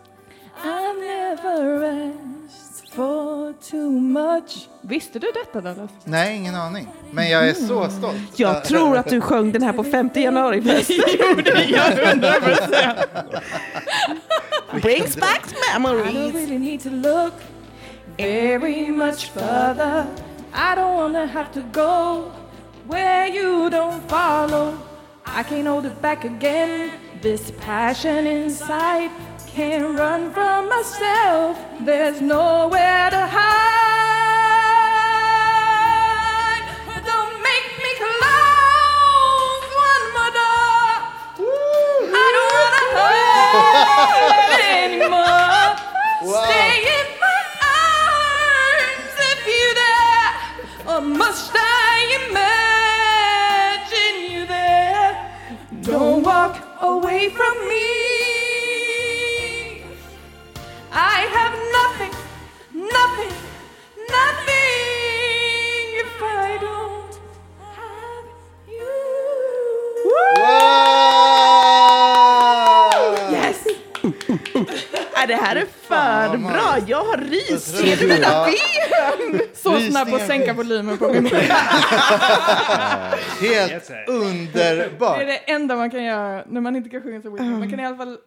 E: I've never asked for too much.
C: Visste du detta Dallas?
B: Nej, ingen aning. Men jag är så stolt.
D: Mm. Jag tror att du sjöng den här på 50 januari-festen. jo, det Brings back
E: I don't
D: memories.
E: really need to look very much further. I don't wanna have to go where you don't follow. I can't hold it back again. This passion inside can't run from myself. There's nowhere to hide. But don't make me close one more door. I don't wanna hurt anymore.
B: Wow.
E: Stay in my arms if you dare, or must I imagine you there? Don't walk away from me. I have nothing, nothing, nothing if I don't have you.
B: Wow!
E: Yes.
D: Ja, Äh, det här är för
B: Fan, vad
D: bra.
B: nice.
D: Jag har ris.
B: Jag tror
D: Ser du mina
B: jag-
D: ben?
C: Så snabb på att
B: Rysningar
C: sänka
B: finns.
C: volymen på min
B: Helt
C: Det är
B: underbart.
C: det enda man kan göra när man inte kan sjunga så mycket. Man kan i alla fall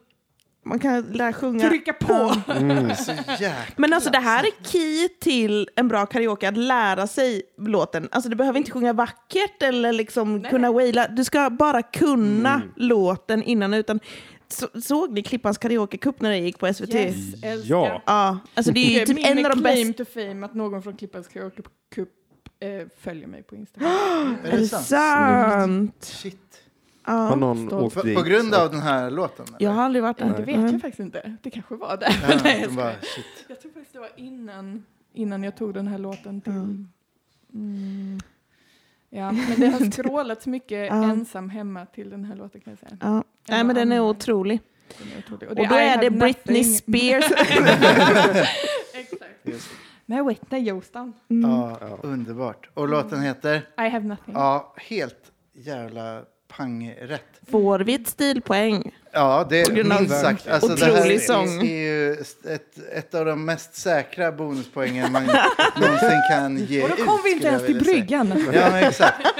D: Man kan lära sjunga.
C: Trycka på!
A: Mm.
B: Så jäkla...
D: Men alltså det här är key till en bra karaoke, att lära sig låten. Alltså du behöver inte sjunga vackert eller liksom
E: Nej.
D: kunna waila. Du ska bara kunna
A: Mm.
D: låten innan. Utan, så, såg ni Klippans karaokecup när det gick på SVT?
C: Yes, älskar.
A: Ja.
D: Ja, alltså det är ju typ en av de bästa.
C: to fame att någon från Klippans Karaoke Cup eh, följer mig på Instagram.
B: Är
D: Är det sant?
B: Shit.
A: Har
D: Ja.
A: någon
C: Stolt.
A: åkt
B: På,
A: dit?
B: på grund av den här låten? eller?
D: Jag har aldrig varit
C: Ja, det
D: där.
C: vet jag faktiskt inte. Det kanske var det.
B: Ja,
C: Nej, jag
B: de bara,
C: skojar.
B: shit.
C: Jag tror faktiskt det var innan, innan jag tog den här låten till.
D: Mm.
C: Mm. Ja, men det har skrålats mycket
D: Ja.
C: ensam hemma till den här låten kan jag säga.
D: Ja. Nej men den är
C: Mm.
D: otrolig.
C: Den är otrolig.
D: Och då
C: I
D: är
C: Have
D: det Britney
C: Nothing.
D: Spears.
C: Exakt.
A: Just.
C: Med Whitney Houston.
D: Mm.
B: Ja,
A: Ja.
B: underbart. Och låten heter?
C: I have nothing.
B: Ja, helt jävla pangrätt.
D: Får vi ett stilpoäng?
B: Ja, det
D: På grund av
B: är minst sagt. Alltså, det här
D: otrolig sång.
B: är, är ju ett, ett av de mest säkra bonuspoängen man någonsin kan ge
C: Och då kom
B: ut,
C: vi inte
B: skulle jag
C: ens till
B: vilja säga.
C: bryggan.
B: Ja, men exakt.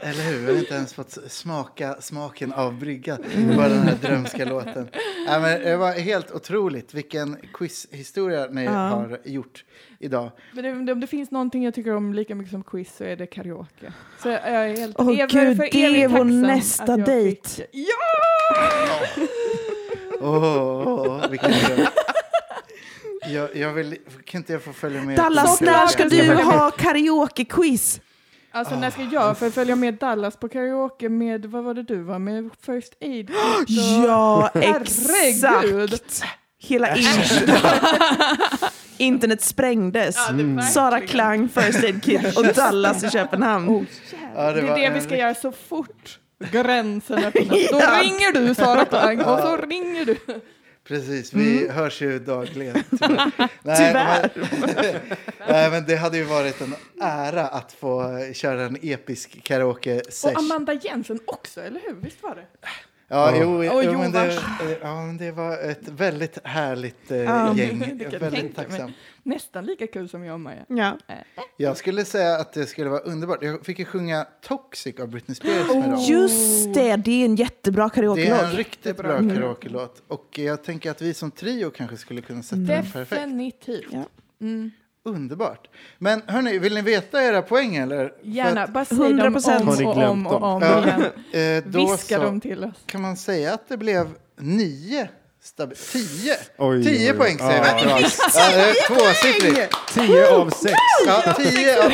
B: Eller hur? Vi har inte ens fått smaka smaken av brygga.
C: Mm.
B: Bara den här drömska låten. Ja, men det var helt otroligt vilken quizhistoria ni
D: Ja.
B: har gjort idag.
C: Men om det, om det finns någonting jag tycker om lika mycket som quiz så är det karaoke. Så jag är helt
D: Åh,
C: ev-
D: gud,
C: för
D: det är
C: evigt
D: vår
C: tacksam
D: nästa
C: att jag
D: dejt.
C: fick- Ja!
B: Åh, oh, vilken dröm. Jag, jag vill, kan inte jag få följa med?
D: Dallas,
C: Så
D: när
C: klart.
D: ska du ha karaoke-quiz?
C: Alltså när ska jag för följa med Dallas på karaoke med, vad var det du var med, First Aid?
D: Ja,
C: Herregud.
D: exakt! Hela in- internet sprängdes.
C: Ja, det verkligen.
D: Sara Klang, First Aid Kit och Dallas i Köpenhamn.
B: Ja,
C: det,
B: var
C: är det
B: en
C: vi ska
B: rikt-
C: göra så fort gränsen öppnas. Då
D: Ja.
C: ringer du Sara Klang och så ringer du.
B: Precis, vi
C: Mm.
B: hörs ju dagligen.
D: Tyvärr.
B: Men, nej, men det hade ju varit en ära att få köra en episk
C: Och
B: karaoke-sesh.
C: Amanda Jensen också, eller hur? Visst var det?
B: Ja,
A: Ja.
B: jo,
C: Och
B: jo, men det,
C: Jonas.
B: eh, ja, men det var ett väldigt härligt eh,
D: Ja,
B: gäng.
C: det
B: Jag
C: kan jag
B: är
C: tänka
B: väldigt
C: mig.
B: tacksam.
C: Nästan lika kul som jag och Maja.
D: Ja.
B: Jag skulle säga att det skulle vara underbart. Jag fick ju sjunga Toxic av Britney Spears med dem.
D: Just det, det är en jättebra
B: Det är en
D: karaoke-låt.
B: riktigt bra karaoke-låt. Och jag tänker att vi som trio kanske skulle kunna sätta den Mm, perfekt.
C: Definitivt.
D: Ja.
C: Mm.
B: Underbart. Men hörni, vill ni veta era poäng eller? För
C: Gärna,
B: att,
C: bara säg
D: 100%.
C: dem
A: Har ni
C: om och om
A: glömt
C: och om
B: dem? Ja.
C: igen.
B: eh, då
C: Viska
B: så
C: dem till oss.
B: kan man säga att det blev nio stabi- Tio!
A: Oj,
B: tio
A: oj, oj.
B: poäng säger
A: Ja.
B: vi. Bra. Ja, det är tvåsiffrigt.
A: Tio av sex.
B: Ja, tio av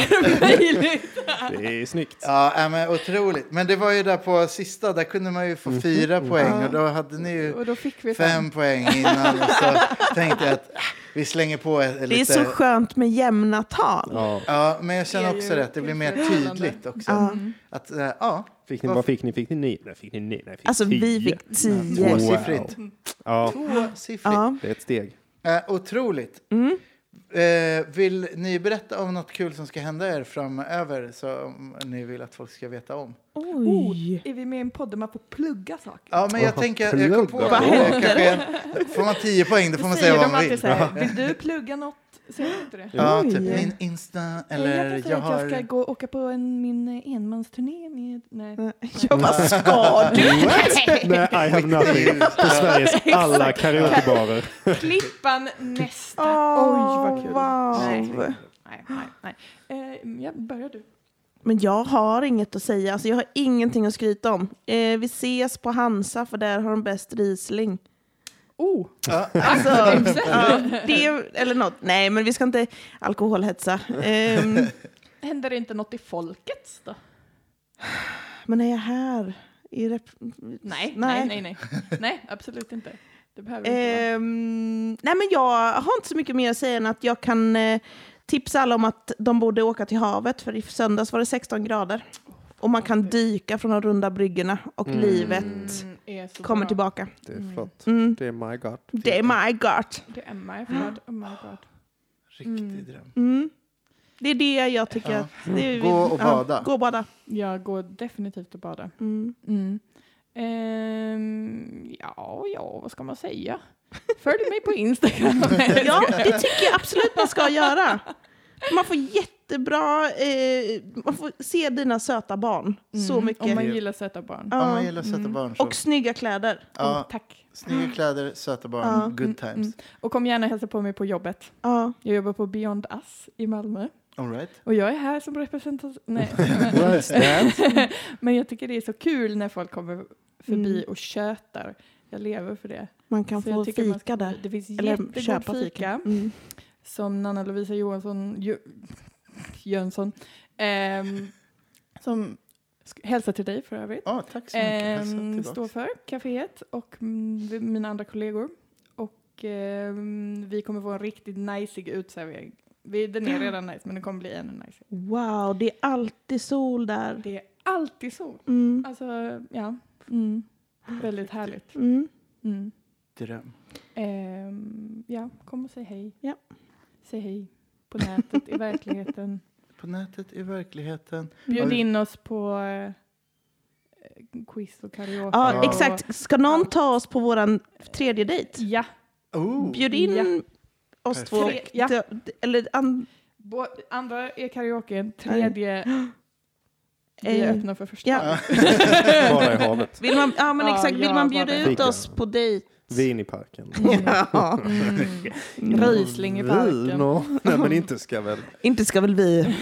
A: Det är snyggt.
B: Ja, ja, men otroligt. Men det var ju där på sista, där kunde man ju få fyra poäng och då hade ni ju
C: Och då fick vi
B: fem poäng innan och så tänkte jag att ah, vi slänger på ett,
D: Det är
B: lite.
D: så skönt med jämna tal.
A: Ja.
B: Ja, men jag känner
C: Det är
B: också
C: ju
B: det, att det blir mer
C: tillfredsställande.
B: tydligt också.
C: Mm.
B: Att, eh, ja,
A: Fick ni, vad fick ni? Fick ni nio? Nej, fick ni nio? Nej, fick
D: Alltså
A: tio.
D: vi fick tio.
B: tvåsiffrigt.
A: Ja,
B: Tvåsiffrigt.
D: Ja.
A: det är ett steg.
B: Eh, otroligt.
D: Mm.
B: Eh, vill ni berätta om något kul som ska hända er framöver som ni vill att folk ska veta om?
D: Oj.
C: Är vi med i en podd där man får plugga saker?
B: Ja, men jag tänker, jag kom på,
A: Plugga
D: på.
B: eh, kanske, får man tio poäng då får man säga vad man vill.
C: Så här, vill du plugga något? Säger de inte det?
B: Ja,
D: Oj.
B: typ min Insta eller
C: jag
B: jag,
C: kan säga
B: har...
C: att jag ska gå och åka på en, min eh, enmansturné med... Nej.
D: Jag bara, ska du?
A: Nej, I have nothing. På Sveriges alla karaokebarer.
C: Klippan nästa.
D: Åh,
C: Oj, vad kul.
D: wow.
C: Nej, nej, nej. Eh, ja, börjar du.
D: Men jag har inget att säga. Alltså, jag har ingenting att skryta om. Eh, vi ses på Hansa för där har de bäst Riesling.
C: Oh,
B: Ja,
D: Alltså, ja, det, eller något. Nej, men vi ska inte alkoholhetsa. Ehm,
C: händer det inte något i folkets då?
D: men är jag här? I rep-
C: Nej, nej,
D: Nej.
C: nej, nej. Nej, absolut inte. Det behöver inte
D: Ehm, nej, men jag har inte så mycket mer att säga än att jag kan eh, tipsa alla om att de borde åka till havet, för i söndags var det 16 grader. Och man kan dyka från de runda bryggorna och
A: Mm.
D: livet
C: vara. Mm, är så
D: kommer
C: bra.
D: tillbaka.
A: Det är flott.
D: Mm.
A: Det är my god.
D: Det är my God.
C: Det är Maja, förlåt. Oh my god.
B: Riktig dröm.
D: Mm. Det är det jag tycker.
B: Ja.
D: Att det är,
B: Gå och bada.
D: Ja, gå och bada.
C: Jag går definitivt och badar.
D: Mm.
C: Mm. Ehm, ja, ja, vad ska man säga? Följ mig på Instagram.
D: Ja, det tycker jag absolut man ska göra. Man får jättebra. Eh, man får se dina söta barn så
C: Mm,
D: mycket.
C: Om man gillar söta barn.
D: Ja.
B: Om man gillar söta
C: Mm.
B: barn så.
D: Och snygga kläder.
B: ja,
C: Och Oh, tack.
B: snygga kläder, söta barn,
D: Ja.
B: good times.
C: Mm. Och kom gärna och hälsa på mig på jobbet.
D: Ja.
C: Jag jobbar på Beyond Us i Malmö.
B: All right.
C: Och jag är här som representant. Nej.
B: What's that?
C: Men jag tycker det är så kul när folk kommer förbi
D: Mm.
C: och tjötar. Jag lever för det.
D: Man kan
C: Så
D: få
C: jag tycker man
D: fika där.
C: Det finns
D: Eller
C: jättegod
D: köpa
C: fika,
D: fika. Mm.
C: som Nanna Lovisa Johansson Jö, Jönsson ehm, som sk- hälsar till dig för övrigt.
B: Ja, tack så mycket. Hälsa
C: ehm,
B: tillbaka.
C: står för kaféet och mm, mina andra kollegor. Och ehm, vi kommer få en riktigt najsig utservering. Vi, den är redan nice, men den kommer bli ännu nice.
D: Wow, det är alltid sol där.
C: Det är alltid sol.
D: Mm.
C: Alltså, ja. Mm. Väldigt härligt.
D: Mm.
C: Mm.
B: Dröm.
C: Ehm, ja, kom och säg hej.
D: Ja.
C: Säg hej på nätet, i verkligheten.
B: På nätet, i verkligheten.
C: Bjud
B: Ja.
C: in oss på eh, quiz och karaoke.
D: Ja,
C: och-
D: exakt. Ska någon ta oss på vår tredje dejt?
C: Ja,
B: Oh,
D: Bjud in
C: Ja.
D: oss två.
C: Perfekt. Ja.
D: D- Eller an-
C: bo, andra är karaoke, tredje vi
D: Eh,
C: öppnar för första.
D: ja.
A: Bara i havet.
D: vill man, ja, men
C: Ja,
D: exakt. Vill
C: ja,
D: man
C: bara
D: bjuda
C: det.
D: ut
A: Fika.
D: oss på dejt?
A: Vin i parken.
D: Ja.
C: Mm. Riesling i
A: Vin
C: parken.
A: och... Nej, men inte ska väl...
D: Inte ska väl vi...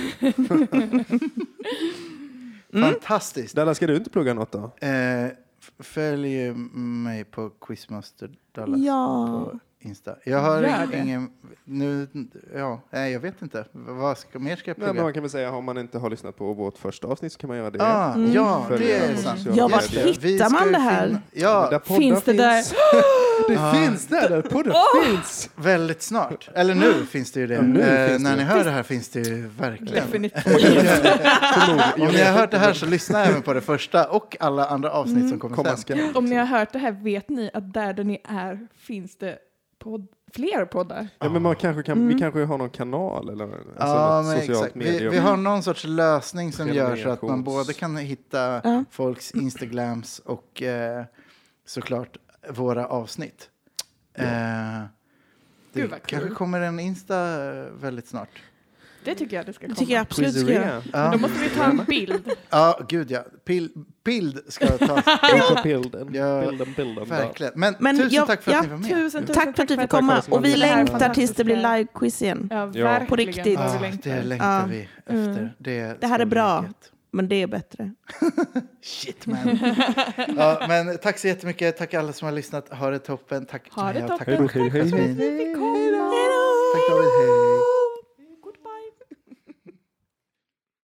B: Fantastiskt.
A: Dalla, ska du inte plugga något då?
B: Mm. Eh, f- följ eh, mig på Quizmaster Dallas
D: Ja.
B: på Insta. Jag har
C: Gör
B: ing-
C: det.
B: ingen... Nu, ja, nej, jag vet inte. V- Vad ska, mer ska
A: Nej,
B: jag plugga?
A: men man kan väl säga, om man inte har lyssnat på vårt första avsnitt så kan man göra det.
B: ah,
D: Mm.
B: Ja,
A: Följ
B: det är
A: oss på
B: sant.
A: sociala Ja,
D: var
A: medier.
D: hittar
B: Vi ska
D: man
B: ju
D: det här?
B: finna-
A: Där
B: Ja,
A: poddar
C: Finns det där?
A: Det
B: Ah.
A: finns där, där podden
D: Ah!
A: finns!
B: väldigt snart. Eller nu finns det ju det.
A: Ja, nu
B: eh,
A: finns
B: när
A: det.
B: ni hör det här finns det ju verkligen.
C: Definitivt.
A: Förmodligen.
B: Om ni har hört det här så lyssna även på det första och alla andra avsnitt som kommer
A: Mm. Komma
B: sen.
A: skall.
C: Om ni har hört det här, vet ni att där, där ni är finns det podd, fler poddar?
A: Ja, men man kanske kan,
D: Mm.
A: Vi kanske har någon kanal eller alltså
B: Ja,
A: något
B: men
A: socialt
B: exakt. Vi,
A: medium.
B: vi har någon sorts lösning som gör så att man
A: Prenumerations-
B: både kan hitta
D: Ja.
B: folks Instagrams och eh, såklart våra avsnitt.
A: Ja.
B: Eh, det
C: Gud, vad kul.
B: kanske kommer en Insta eh, väldigt snart.
C: Det tycker jag det ska
D: Det
C: komma.
D: tycker jag absolut ska göra.
A: Quizzeria.
B: Ja,
C: Då måste vi ta en bild.
B: ja gud ja. Pil, bild ska tas.
A: Bilden, bilden,
B: Ja,
A: bilden, bilden.
B: Verkligen. Men,
D: Men
B: tusen
D: jag-
B: tack för
D: ja,
B: att ni var med.
C: Tusen, tusen
D: Tack för att du fick
A: Tack
D: komma.
A: alla som
D: Och vi
A: har lyssnat.
D: längtar tills det blir live-quiz igen.
C: Ja,
A: Ja.
C: verkligen.
D: På riktigt.
C: vad vi
B: Ja,
C: längtar.
B: det längtar
D: Ja. Mm.
B: vi efter. Det,
D: Det här
B: ska
D: är
B: bli
D: bra.
B: gött.
D: Men det är bättre.
B: Shit man. ja, men tack så jättemycket. Tack alla som har lyssnat. Ha det toppen. Tack
C: Ha det
B: Mia.
C: toppen.
A: Hej då, hej,
C: Tack
A: hej.
C: för att vi fick komma.
B: Tack David. Hej.